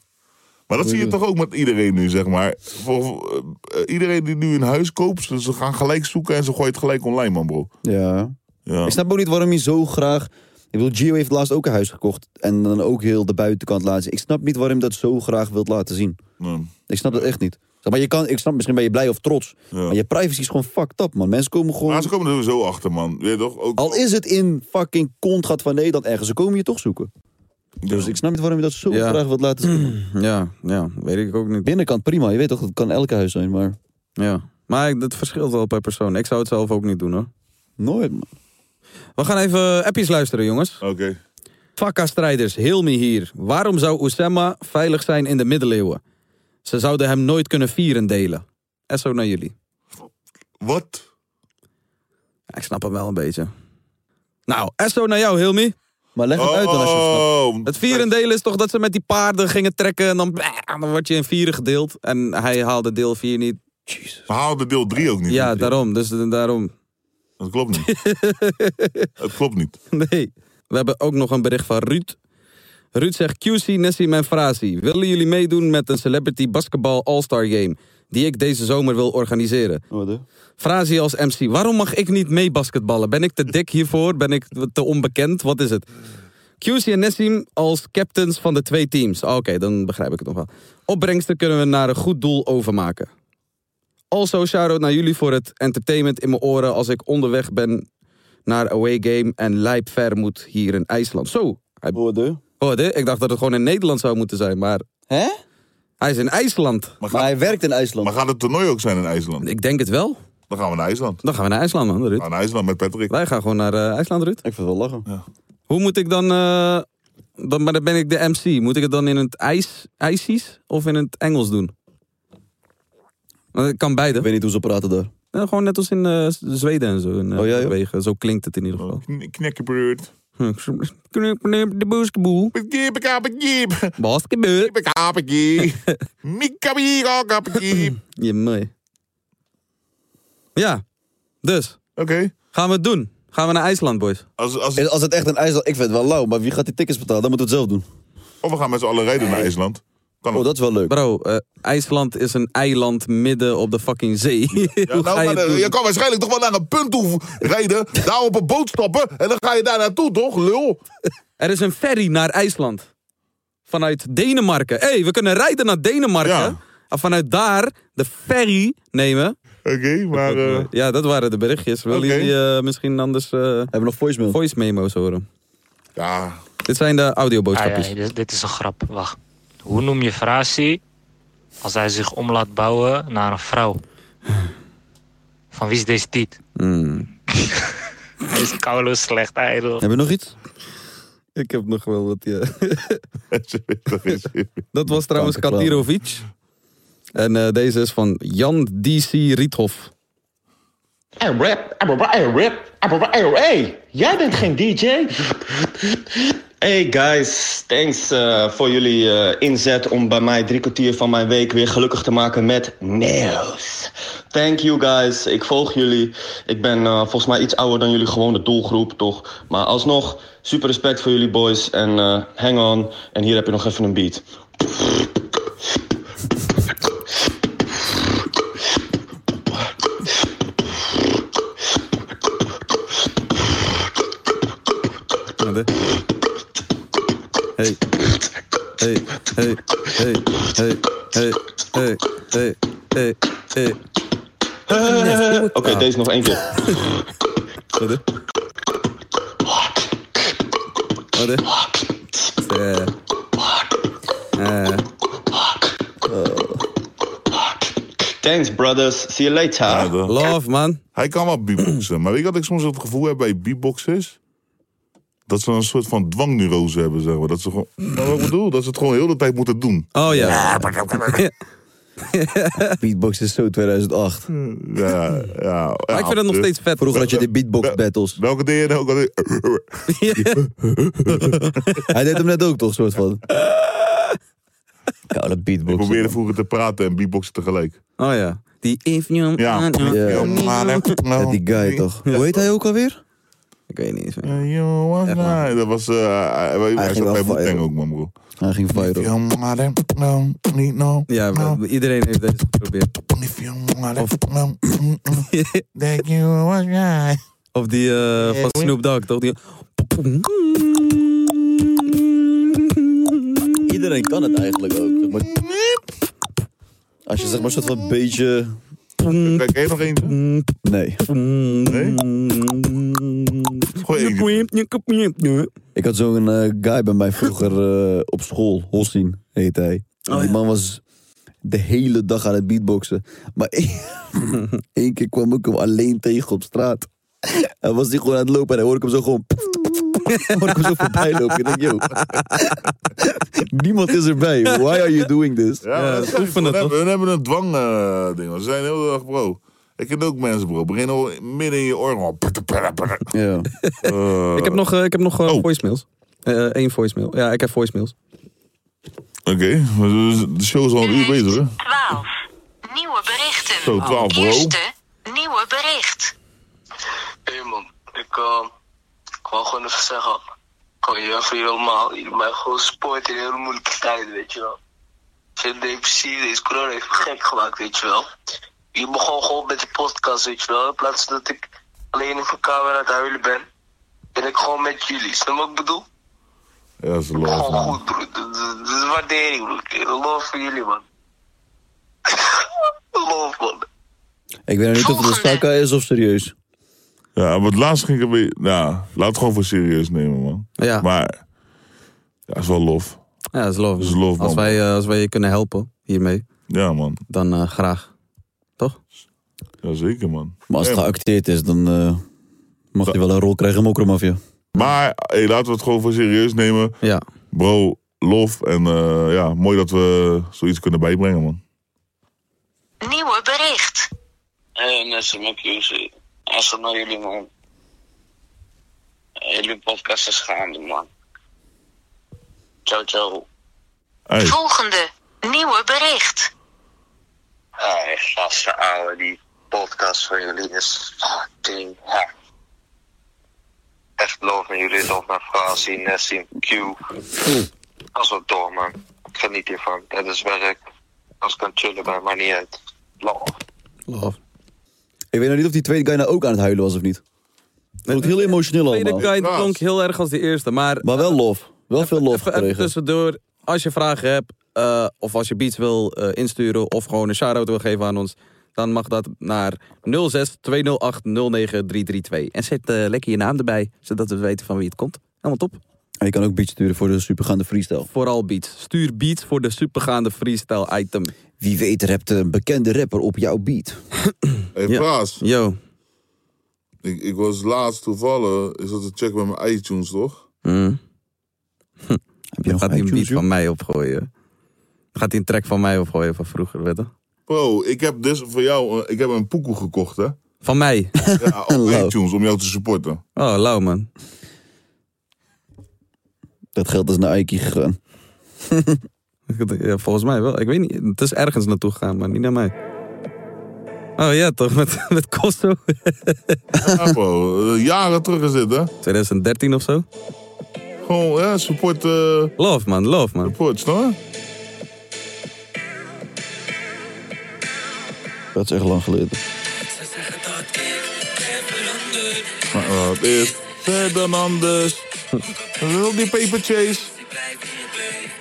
Speaker 2: Maar dat zie je toch ook met iedereen nu, zeg maar. Voor, voor, eh, iedereen die nu een huis koopt, ze- ze gaan gelijk zoeken en ze gooien het gelijk online, man, bro.
Speaker 3: Ja.
Speaker 2: Ja.
Speaker 3: Ik snap ook niet waarom je zo graag... Ik bedoel, Gio heeft laatst ook een huis gekocht. En dan ook heel de buitenkant laten zien. Ik snap niet waarom je dat zo graag wilt laten zien.
Speaker 2: Nee.
Speaker 3: Ik snap dat echt niet. Zeg maar je kan, ik snap, misschien ben je blij of trots. Maar je privacy is gewoon fucked up, man. Mensen komen gewoon...
Speaker 2: Maar ze komen er sowieso achter, man. Weet je toch? Ook,
Speaker 3: Al is het in fucking kontgat van Nederland ergens. Ze komen je toch zoeken. Dus ik snap niet waarom je dat zo
Speaker 11: Ja.
Speaker 3: graag wilt laten zien.
Speaker 11: Ja, ja, weet ik ook niet.
Speaker 3: Binnenkant prima. Je weet toch, dat kan elk huis zijn, maar...
Speaker 11: Ja, maar ik- dat verschilt wel per persoon. Ik zou het zelf ook niet doen, hoor.
Speaker 3: Nooit, man.
Speaker 11: We gaan even appjes luisteren, jongens.
Speaker 2: Oké.
Speaker 11: Fakka-strijders, Hilmi hier. Waarom zou Oussama veilig zijn in de middeleeuwen? Ze zouden hem nooit kunnen vieren delen. SO naar jullie.
Speaker 2: Wat?
Speaker 11: Ik snap hem wel een beetje. Nou, SO naar jou, Hilmi.
Speaker 3: Maar leg
Speaker 11: het uit dan als je
Speaker 2: het snapt.
Speaker 11: Het vieren delen is toch dat ze met die paarden gingen trekken... en dan, dan word je in vieren gedeeld. En hij haalde deel 4 niet.
Speaker 2: We haalden deel 3 ook niet.
Speaker 11: Ja, daarom. Dus eh, daarom.
Speaker 2: Dat klopt niet. Het klopt niet.
Speaker 11: Nee. We hebben ook nog een bericht van Ruud.
Speaker 3: Ruud zegt QC, Nessim en Frasi. Willen jullie meedoen met een Celebrity Basketbal All-Star Game? Die ik deze zomer wil organiseren. Frasi als MC. Waarom mag ik niet mee basketballen? Ben ik te dik hiervoor? Ben ik te onbekend? Wat is het? QC en Nessim als captains van de twee teams. Ah, Oké, dan begrijp ik het nog wel. Opbrengsten kunnen we naar een goed doel overmaken. Also, shout-out naar jullie voor het entertainment in mijn oren als ik onderweg ben naar away game en Leip ver moet hier in IJsland. Zo. Hij... Hoorde. Ik dacht dat het gewoon in Nederland zou moeten zijn, maar... Hè? Hij is in IJsland. Maar, hij werkt in IJsland.
Speaker 2: Maar gaat het toernooi ook zijn in IJsland?
Speaker 3: Ik denk het wel.
Speaker 2: Dan gaan we naar IJsland.
Speaker 3: Dan gaan we naar IJsland, man, Ruud.
Speaker 2: Aan IJsland met Patrick.
Speaker 3: Wij gaan gewoon naar eh, IJsland, Ruud.
Speaker 17: Ik vind het wel lachen.
Speaker 3: Hoe moet ik dan... eh, dan maar dan ben ik de MC. Moet ik het dan in het IJs, IJsies of in het Engels doen? Want ik kan beide. Ik weet niet hoe ze praten daar. gewoon net als in eh, Z- Zweden en zo.
Speaker 17: Oh,
Speaker 3: In, eh, Noorwegen. Zo klinkt het in ieder geval.
Speaker 2: Knekkenbeurt.
Speaker 3: De boeskeboel. Basketball. Je mooi. Ja, dus.
Speaker 2: Oké.
Speaker 3: Gaan we het doen? Gaan we naar IJsland, boys?
Speaker 2: Als,
Speaker 17: als, het echt een IJsland... Ik vind het wel lauw, maar wie gaat die tickets betalen? Dan moeten we het zelf doen.
Speaker 2: Of we gaan met z'n allen rijden naar IJsland.
Speaker 17: oh, dat is wel leuk.
Speaker 3: Bro, eh, IJsland is een eiland midden op de fucking zee. Hoe
Speaker 2: Nou,
Speaker 3: ga je
Speaker 2: maar,
Speaker 3: het
Speaker 2: eh,
Speaker 3: doen?
Speaker 2: je kan waarschijnlijk toch wel naar een punt toe rijden, daar op een boot stappen en dan ga je daar naartoe, toch, lul?
Speaker 3: Er is een ferry naar IJsland. Vanuit Denemarken. Hé, hey, we kunnen rijden naar Denemarken. En vanuit daar de ferry nemen.
Speaker 2: Oké, maar...
Speaker 3: Ja, dat waren de berichtjes. Willen
Speaker 2: Eh. Oké.
Speaker 3: jullie eh, misschien anders... Hebben we nog voicemail? Voice memo's horen.
Speaker 2: Ja.
Speaker 3: Dit zijn de audioboodschapjes.
Speaker 18: Ah, ja, dit, dit is een grap. Wacht. Hoe noem je Frasi als hij zich om laat bouwen naar een vrouw? Van wie is deze tiet? Deze koude slecht ijdel.
Speaker 3: Hebben we nog iets? Ik heb nog wel wat, ja.
Speaker 2: eh,
Speaker 3: dat was trouwens Katirovic. En eh, deze is van Jan D.C. Riethof.
Speaker 12: Hey rap, hey rap, hey hey, jij bent geen DJ? Hey guys, thanks eh, voor jullie eh, inzet om bij mij drie kwartier van mijn week weer gelukkig te maken met mails. Thank you guys, ik volg jullie. Ik ben eh, volgens mij iets ouder dan jullie gewone doelgroep, toch? Maar alsnog, super respect voor jullie boys en eh, hang on. En hier heb je nog even een beat.
Speaker 3: Hey. Hey, hey, hey, hey, hey, hey, hey, hey, hey.
Speaker 12: Oké, deze nog één keer.
Speaker 3: Wat hè? Wat hè? Eh. Eh.
Speaker 12: Thanks brothers, see you later.
Speaker 3: Love, man.
Speaker 2: Hij kan wel beatboxen, maar weet je wat ik soms het gevoel heb bij beatboxers? Dat ze een soort van dwangneurose hebben, zeg maar. Dat ze gewoon, nou, wat ik bedoel, dat ze het gewoon heel de tijd moeten doen.
Speaker 3: Oh ja.
Speaker 17: Beatbox is zo 2008.
Speaker 2: Ja, ja.
Speaker 17: Maar ik vind het nog steeds vet. Vroeger had je de beatbox
Speaker 2: battles. Welke deed je nou? ook altijd?
Speaker 17: Hij deed hem net ook toch, soort van.
Speaker 2: Koude beatbox. Ik probeerde vroeger te praten en beatboxen tegelijk.
Speaker 3: Oh ja. Die if you
Speaker 2: Ja.
Speaker 17: Ah, Ja, die guy toch. Hoe heet hij ook alweer?
Speaker 3: Ik weet niet eens meer.
Speaker 2: Ja, dat was... eh, hij- hij hij
Speaker 17: ging
Speaker 2: zat
Speaker 17: wel
Speaker 2: bij Boeteng
Speaker 17: viral.
Speaker 2: ook, man, bro.
Speaker 17: Hij ging viral.
Speaker 2: nou.
Speaker 3: Ja, we- iedereen heeft deze geprobeerd.
Speaker 2: Mm, oh,
Speaker 3: Of die eh, van Snoop Dogg, toch? Die...
Speaker 17: Iedereen kan het eigenlijk ook. zeg maar. Als je zeg maar soort van beetje...
Speaker 2: Kijk, jij nog één?
Speaker 17: Nee.
Speaker 2: Nee?
Speaker 17: Ik had zo'n eh, guy bij mij vroeger eh, op school. Hossin heet hij. En die man was de hele dag aan het beatboxen. Maar één- één keer kwam ik hem alleen tegen op straat. En was hij gewoon aan het lopen en dan hoor ik hem zo gewoon... hoor ik hem zo voorbij lopen. Ik denk, yo. Niemand is erbij. Why are you doing this?
Speaker 2: Ja, maar dat is echt- we, hebben, we hebben een dwang eh, ding. man. Ze zijn heel de dag, bro. Ik ken ook mensen, bro. Begin al midden in je oor. man.
Speaker 17: Ja.
Speaker 2: Eh,
Speaker 3: Ik heb nog, eh, ik heb nog
Speaker 19: Oh.
Speaker 3: eh, voicemails. Eén voicemail. Ja, ik heb voicemails.
Speaker 2: Oké, maar dus- de de show is al een uur bezig, hè?
Speaker 20: 12. Nieuwe berichten.
Speaker 2: Zo, 12, bro.
Speaker 20: Eerste nieuwe bericht.
Speaker 21: Hé man, ik eh, wou gewoon even zeggen.
Speaker 18: Goeiedag voor jullie allemaal. Jullie mij gewoon sport in hele moeilijke tijden, weet je wel. Veel depressie, deze corona heeft me gek gemaakt, weet je wel. Je begon gewoon met de podcast, weet je wel. In plaats dat ik alleen in mijn kamer aan het huilen ben, ben ik gewoon met jullie. Snap je wat ik bedoel?
Speaker 2: Ja, dat is love,
Speaker 18: Gewoon
Speaker 2: man.
Speaker 18: goed, broer. Dat- dat- Dat is waardering, broer. Love voor jullie, man. Love, man.
Speaker 19: Ik weet nog niet of het suiker is of serieus.
Speaker 2: Ja, maar het laatste ging ik een beetje... Nou, laat het gewoon voor serieus nemen, man.
Speaker 3: Ja.
Speaker 2: Maar... Ja, is wel lof.
Speaker 3: Ja, dat is love.
Speaker 2: is love, man.
Speaker 3: als, wij, eh, als wij je kunnen helpen hiermee,
Speaker 2: Ja, man.
Speaker 3: dan eh, graag.
Speaker 2: Jazeker, man.
Speaker 19: Maar als het
Speaker 2: Ja.
Speaker 19: geacteerd is, dan eh, mag hij wel een rol krijgen in Mokromafia.
Speaker 2: Maar hey, laten we het gewoon voor serieus nemen.
Speaker 3: Ja.
Speaker 2: Bro, lof. En eh, ja, mooi dat we zoiets kunnen bijbrengen, man.
Speaker 22: Nieuwe bericht.
Speaker 18: Hey, Nessie, met jullie. Als naar jullie, man. Jullie podcast is gaande, man. Ciao, ciao.
Speaker 2: Hey.
Speaker 22: Volgende. Nieuwe bericht.
Speaker 18: Hey, Ah, gasten, ouwe, die podcast van jullie is fucking hard. Echt loof aan jullie, loof naar Frasie, Nessie, Q. Dat is wel door, man. Ik geniet hiervan. Het is werk. Als ik kan chillen, bij maar niet uit. Lol.
Speaker 19: Ik weet nog niet of die tweede guy nou ook aan het huilen was of niet. Het heel emotioneel
Speaker 3: De tweede
Speaker 19: allemaal.
Speaker 3: guy klonk heel erg als de eerste, maar... eh,
Speaker 19: Maar wel lof. Wel veel lof
Speaker 3: Even
Speaker 19: gekregen.
Speaker 3: tussendoor, als je vragen hebt, eh, of als je beats wil eh, insturen, of gewoon een shout-out wil geven aan ons, dan mag dat naar 06-208-09332. En zet eh, lekker je naam erbij, zodat we weten van wie het komt. Helemaal top.
Speaker 19: En je kan ook beats sturen voor de supergaande freestyle.
Speaker 3: Vooral beats. Stuur beats voor de supergaande freestyle item.
Speaker 19: Wie weet hebt een bekende rapper op jouw beat.
Speaker 2: Hey, Praas.
Speaker 3: Yo.
Speaker 2: Ik, ik was laatst toevallig... Is dat een check met mijn iTunes, toch?
Speaker 3: Heb je Mm. Hm. gaat hij een beat van mij opgooien. Gaat hij een track van mij opgooien van vroeger, weet je?
Speaker 2: Bro, ik heb dus voor jou... eh, Ik heb een poekoe gekocht, hè?
Speaker 3: Van mij?
Speaker 2: Ja, op iTunes, om jou te supporten.
Speaker 3: Oh, lauw man.
Speaker 19: Dat geld is naar Ike gegaan.
Speaker 3: Ja, volgens mij wel. Ik weet niet. Het is ergens naartoe gegaan, maar niet naar mij. Oh ja, toch? Met, met Costo.
Speaker 2: Ja, bro. Eh, Jaren terug is dit, hè?
Speaker 3: 2013 of zo?
Speaker 2: Gewoon, ja, support... eh,
Speaker 3: Love, man. Love, man.
Speaker 2: Support, snap je?
Speaker 19: Dat is echt lang geleden.
Speaker 2: Maar wat is er dan anders? Wil die paper chase?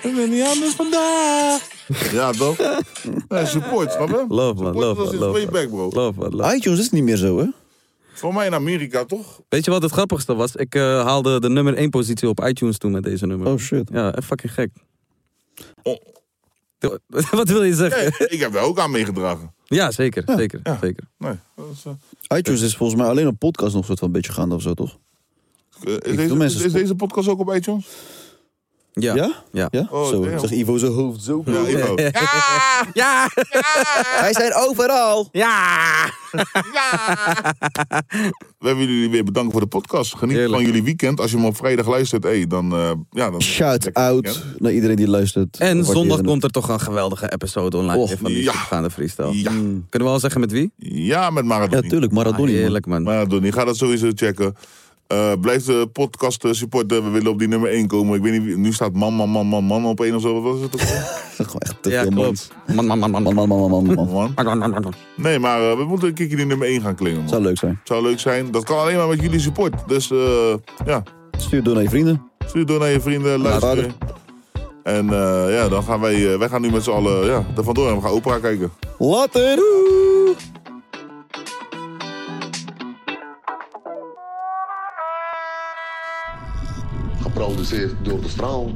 Speaker 2: Ik ben niet anders vandaag. Ja, toch? Nee, support, snap je?
Speaker 3: Love, man. Love,
Speaker 2: was
Speaker 3: man.
Speaker 2: is
Speaker 3: Love,
Speaker 2: way
Speaker 3: man.
Speaker 2: back, bro.
Speaker 3: Love, man. Love.
Speaker 19: iTunes is niet meer zo, hè?
Speaker 2: Voor mij in Amerika, toch?
Speaker 3: Weet je wat het grappigste was? Ik eh, haalde de nummer 1 positie op iTunes toen met deze nummer.
Speaker 19: Oh shit.
Speaker 3: Ja, echt fucking gek. Wat wil je zeggen?
Speaker 2: Oh, ik heb daar ook aan meegedragen.
Speaker 3: Ja, zeker. Zeker. zeker.
Speaker 2: Nee. dat is, eh,
Speaker 19: iTunes is volgens mij alleen op podcast nog soort van een beetje gaande of zo, toch?
Speaker 2: eh,
Speaker 19: doe
Speaker 2: is,
Speaker 19: mensen
Speaker 2: deze, is, is
Speaker 19: support.
Speaker 2: deze podcast ook op iTunes?
Speaker 3: Ja.
Speaker 19: Ja?
Speaker 3: Ja.
Speaker 2: Oh,
Speaker 19: zo,
Speaker 2: damn.
Speaker 19: zegt Ivo zijn hoofd zo.
Speaker 2: Ja, Ivo.
Speaker 3: Ja! Ja!
Speaker 19: Wij zijn overal.
Speaker 3: Ja!
Speaker 2: We hebben jullie weer bedankt voor de podcast. Geniet van jullie weekend. Als je hem op vrijdag luistert, hey, dan... eh, ja, dan
Speaker 19: Shout out naar iedereen die luistert.
Speaker 3: En zondag
Speaker 19: Waarderen.
Speaker 3: komt er toch een geweldige episode online
Speaker 19: Och,
Speaker 3: weer van die
Speaker 2: ja.
Speaker 3: gaande freestyle. Hmm.
Speaker 2: Ja.
Speaker 3: Kunnen we al zeggen met wie?
Speaker 2: Ja, met Maradoni.
Speaker 19: Ja, tuurlijk, Maradoni.
Speaker 3: Ah,
Speaker 19: man.
Speaker 3: heerlijk, man.
Speaker 2: Maradoni, ga dat sowieso checken. Eh, blijf de podcast eh, supporten. We willen op die nummer 1 komen. Ik weet niet, wie- nu staat man, man, man, man, man op één of zo. Wat was het ook? alweer?
Speaker 19: Gewoon echt te
Speaker 3: Ja,
Speaker 19: veel man.
Speaker 3: klopt. Man, man, man, man,
Speaker 19: Man,
Speaker 3: man.
Speaker 19: man, man, man, man, man.
Speaker 2: Man. Nee, maar eh, we moeten een keertje die nummer 1 gaan klingen. Man.
Speaker 19: Zou leuk zijn.
Speaker 2: Zou leuk zijn. Dat kan alleen maar met jullie support. Dus eh, ja,
Speaker 19: Stuur door naar je vrienden.
Speaker 2: stuur door naar je vrienden, luister. En eh, ja, dan gaan wij, eh, wij gaan nu met z'n allen ja, er vandoor en we gaan opera kijken.
Speaker 19: Later.
Speaker 1: Geproduceerd door de straal.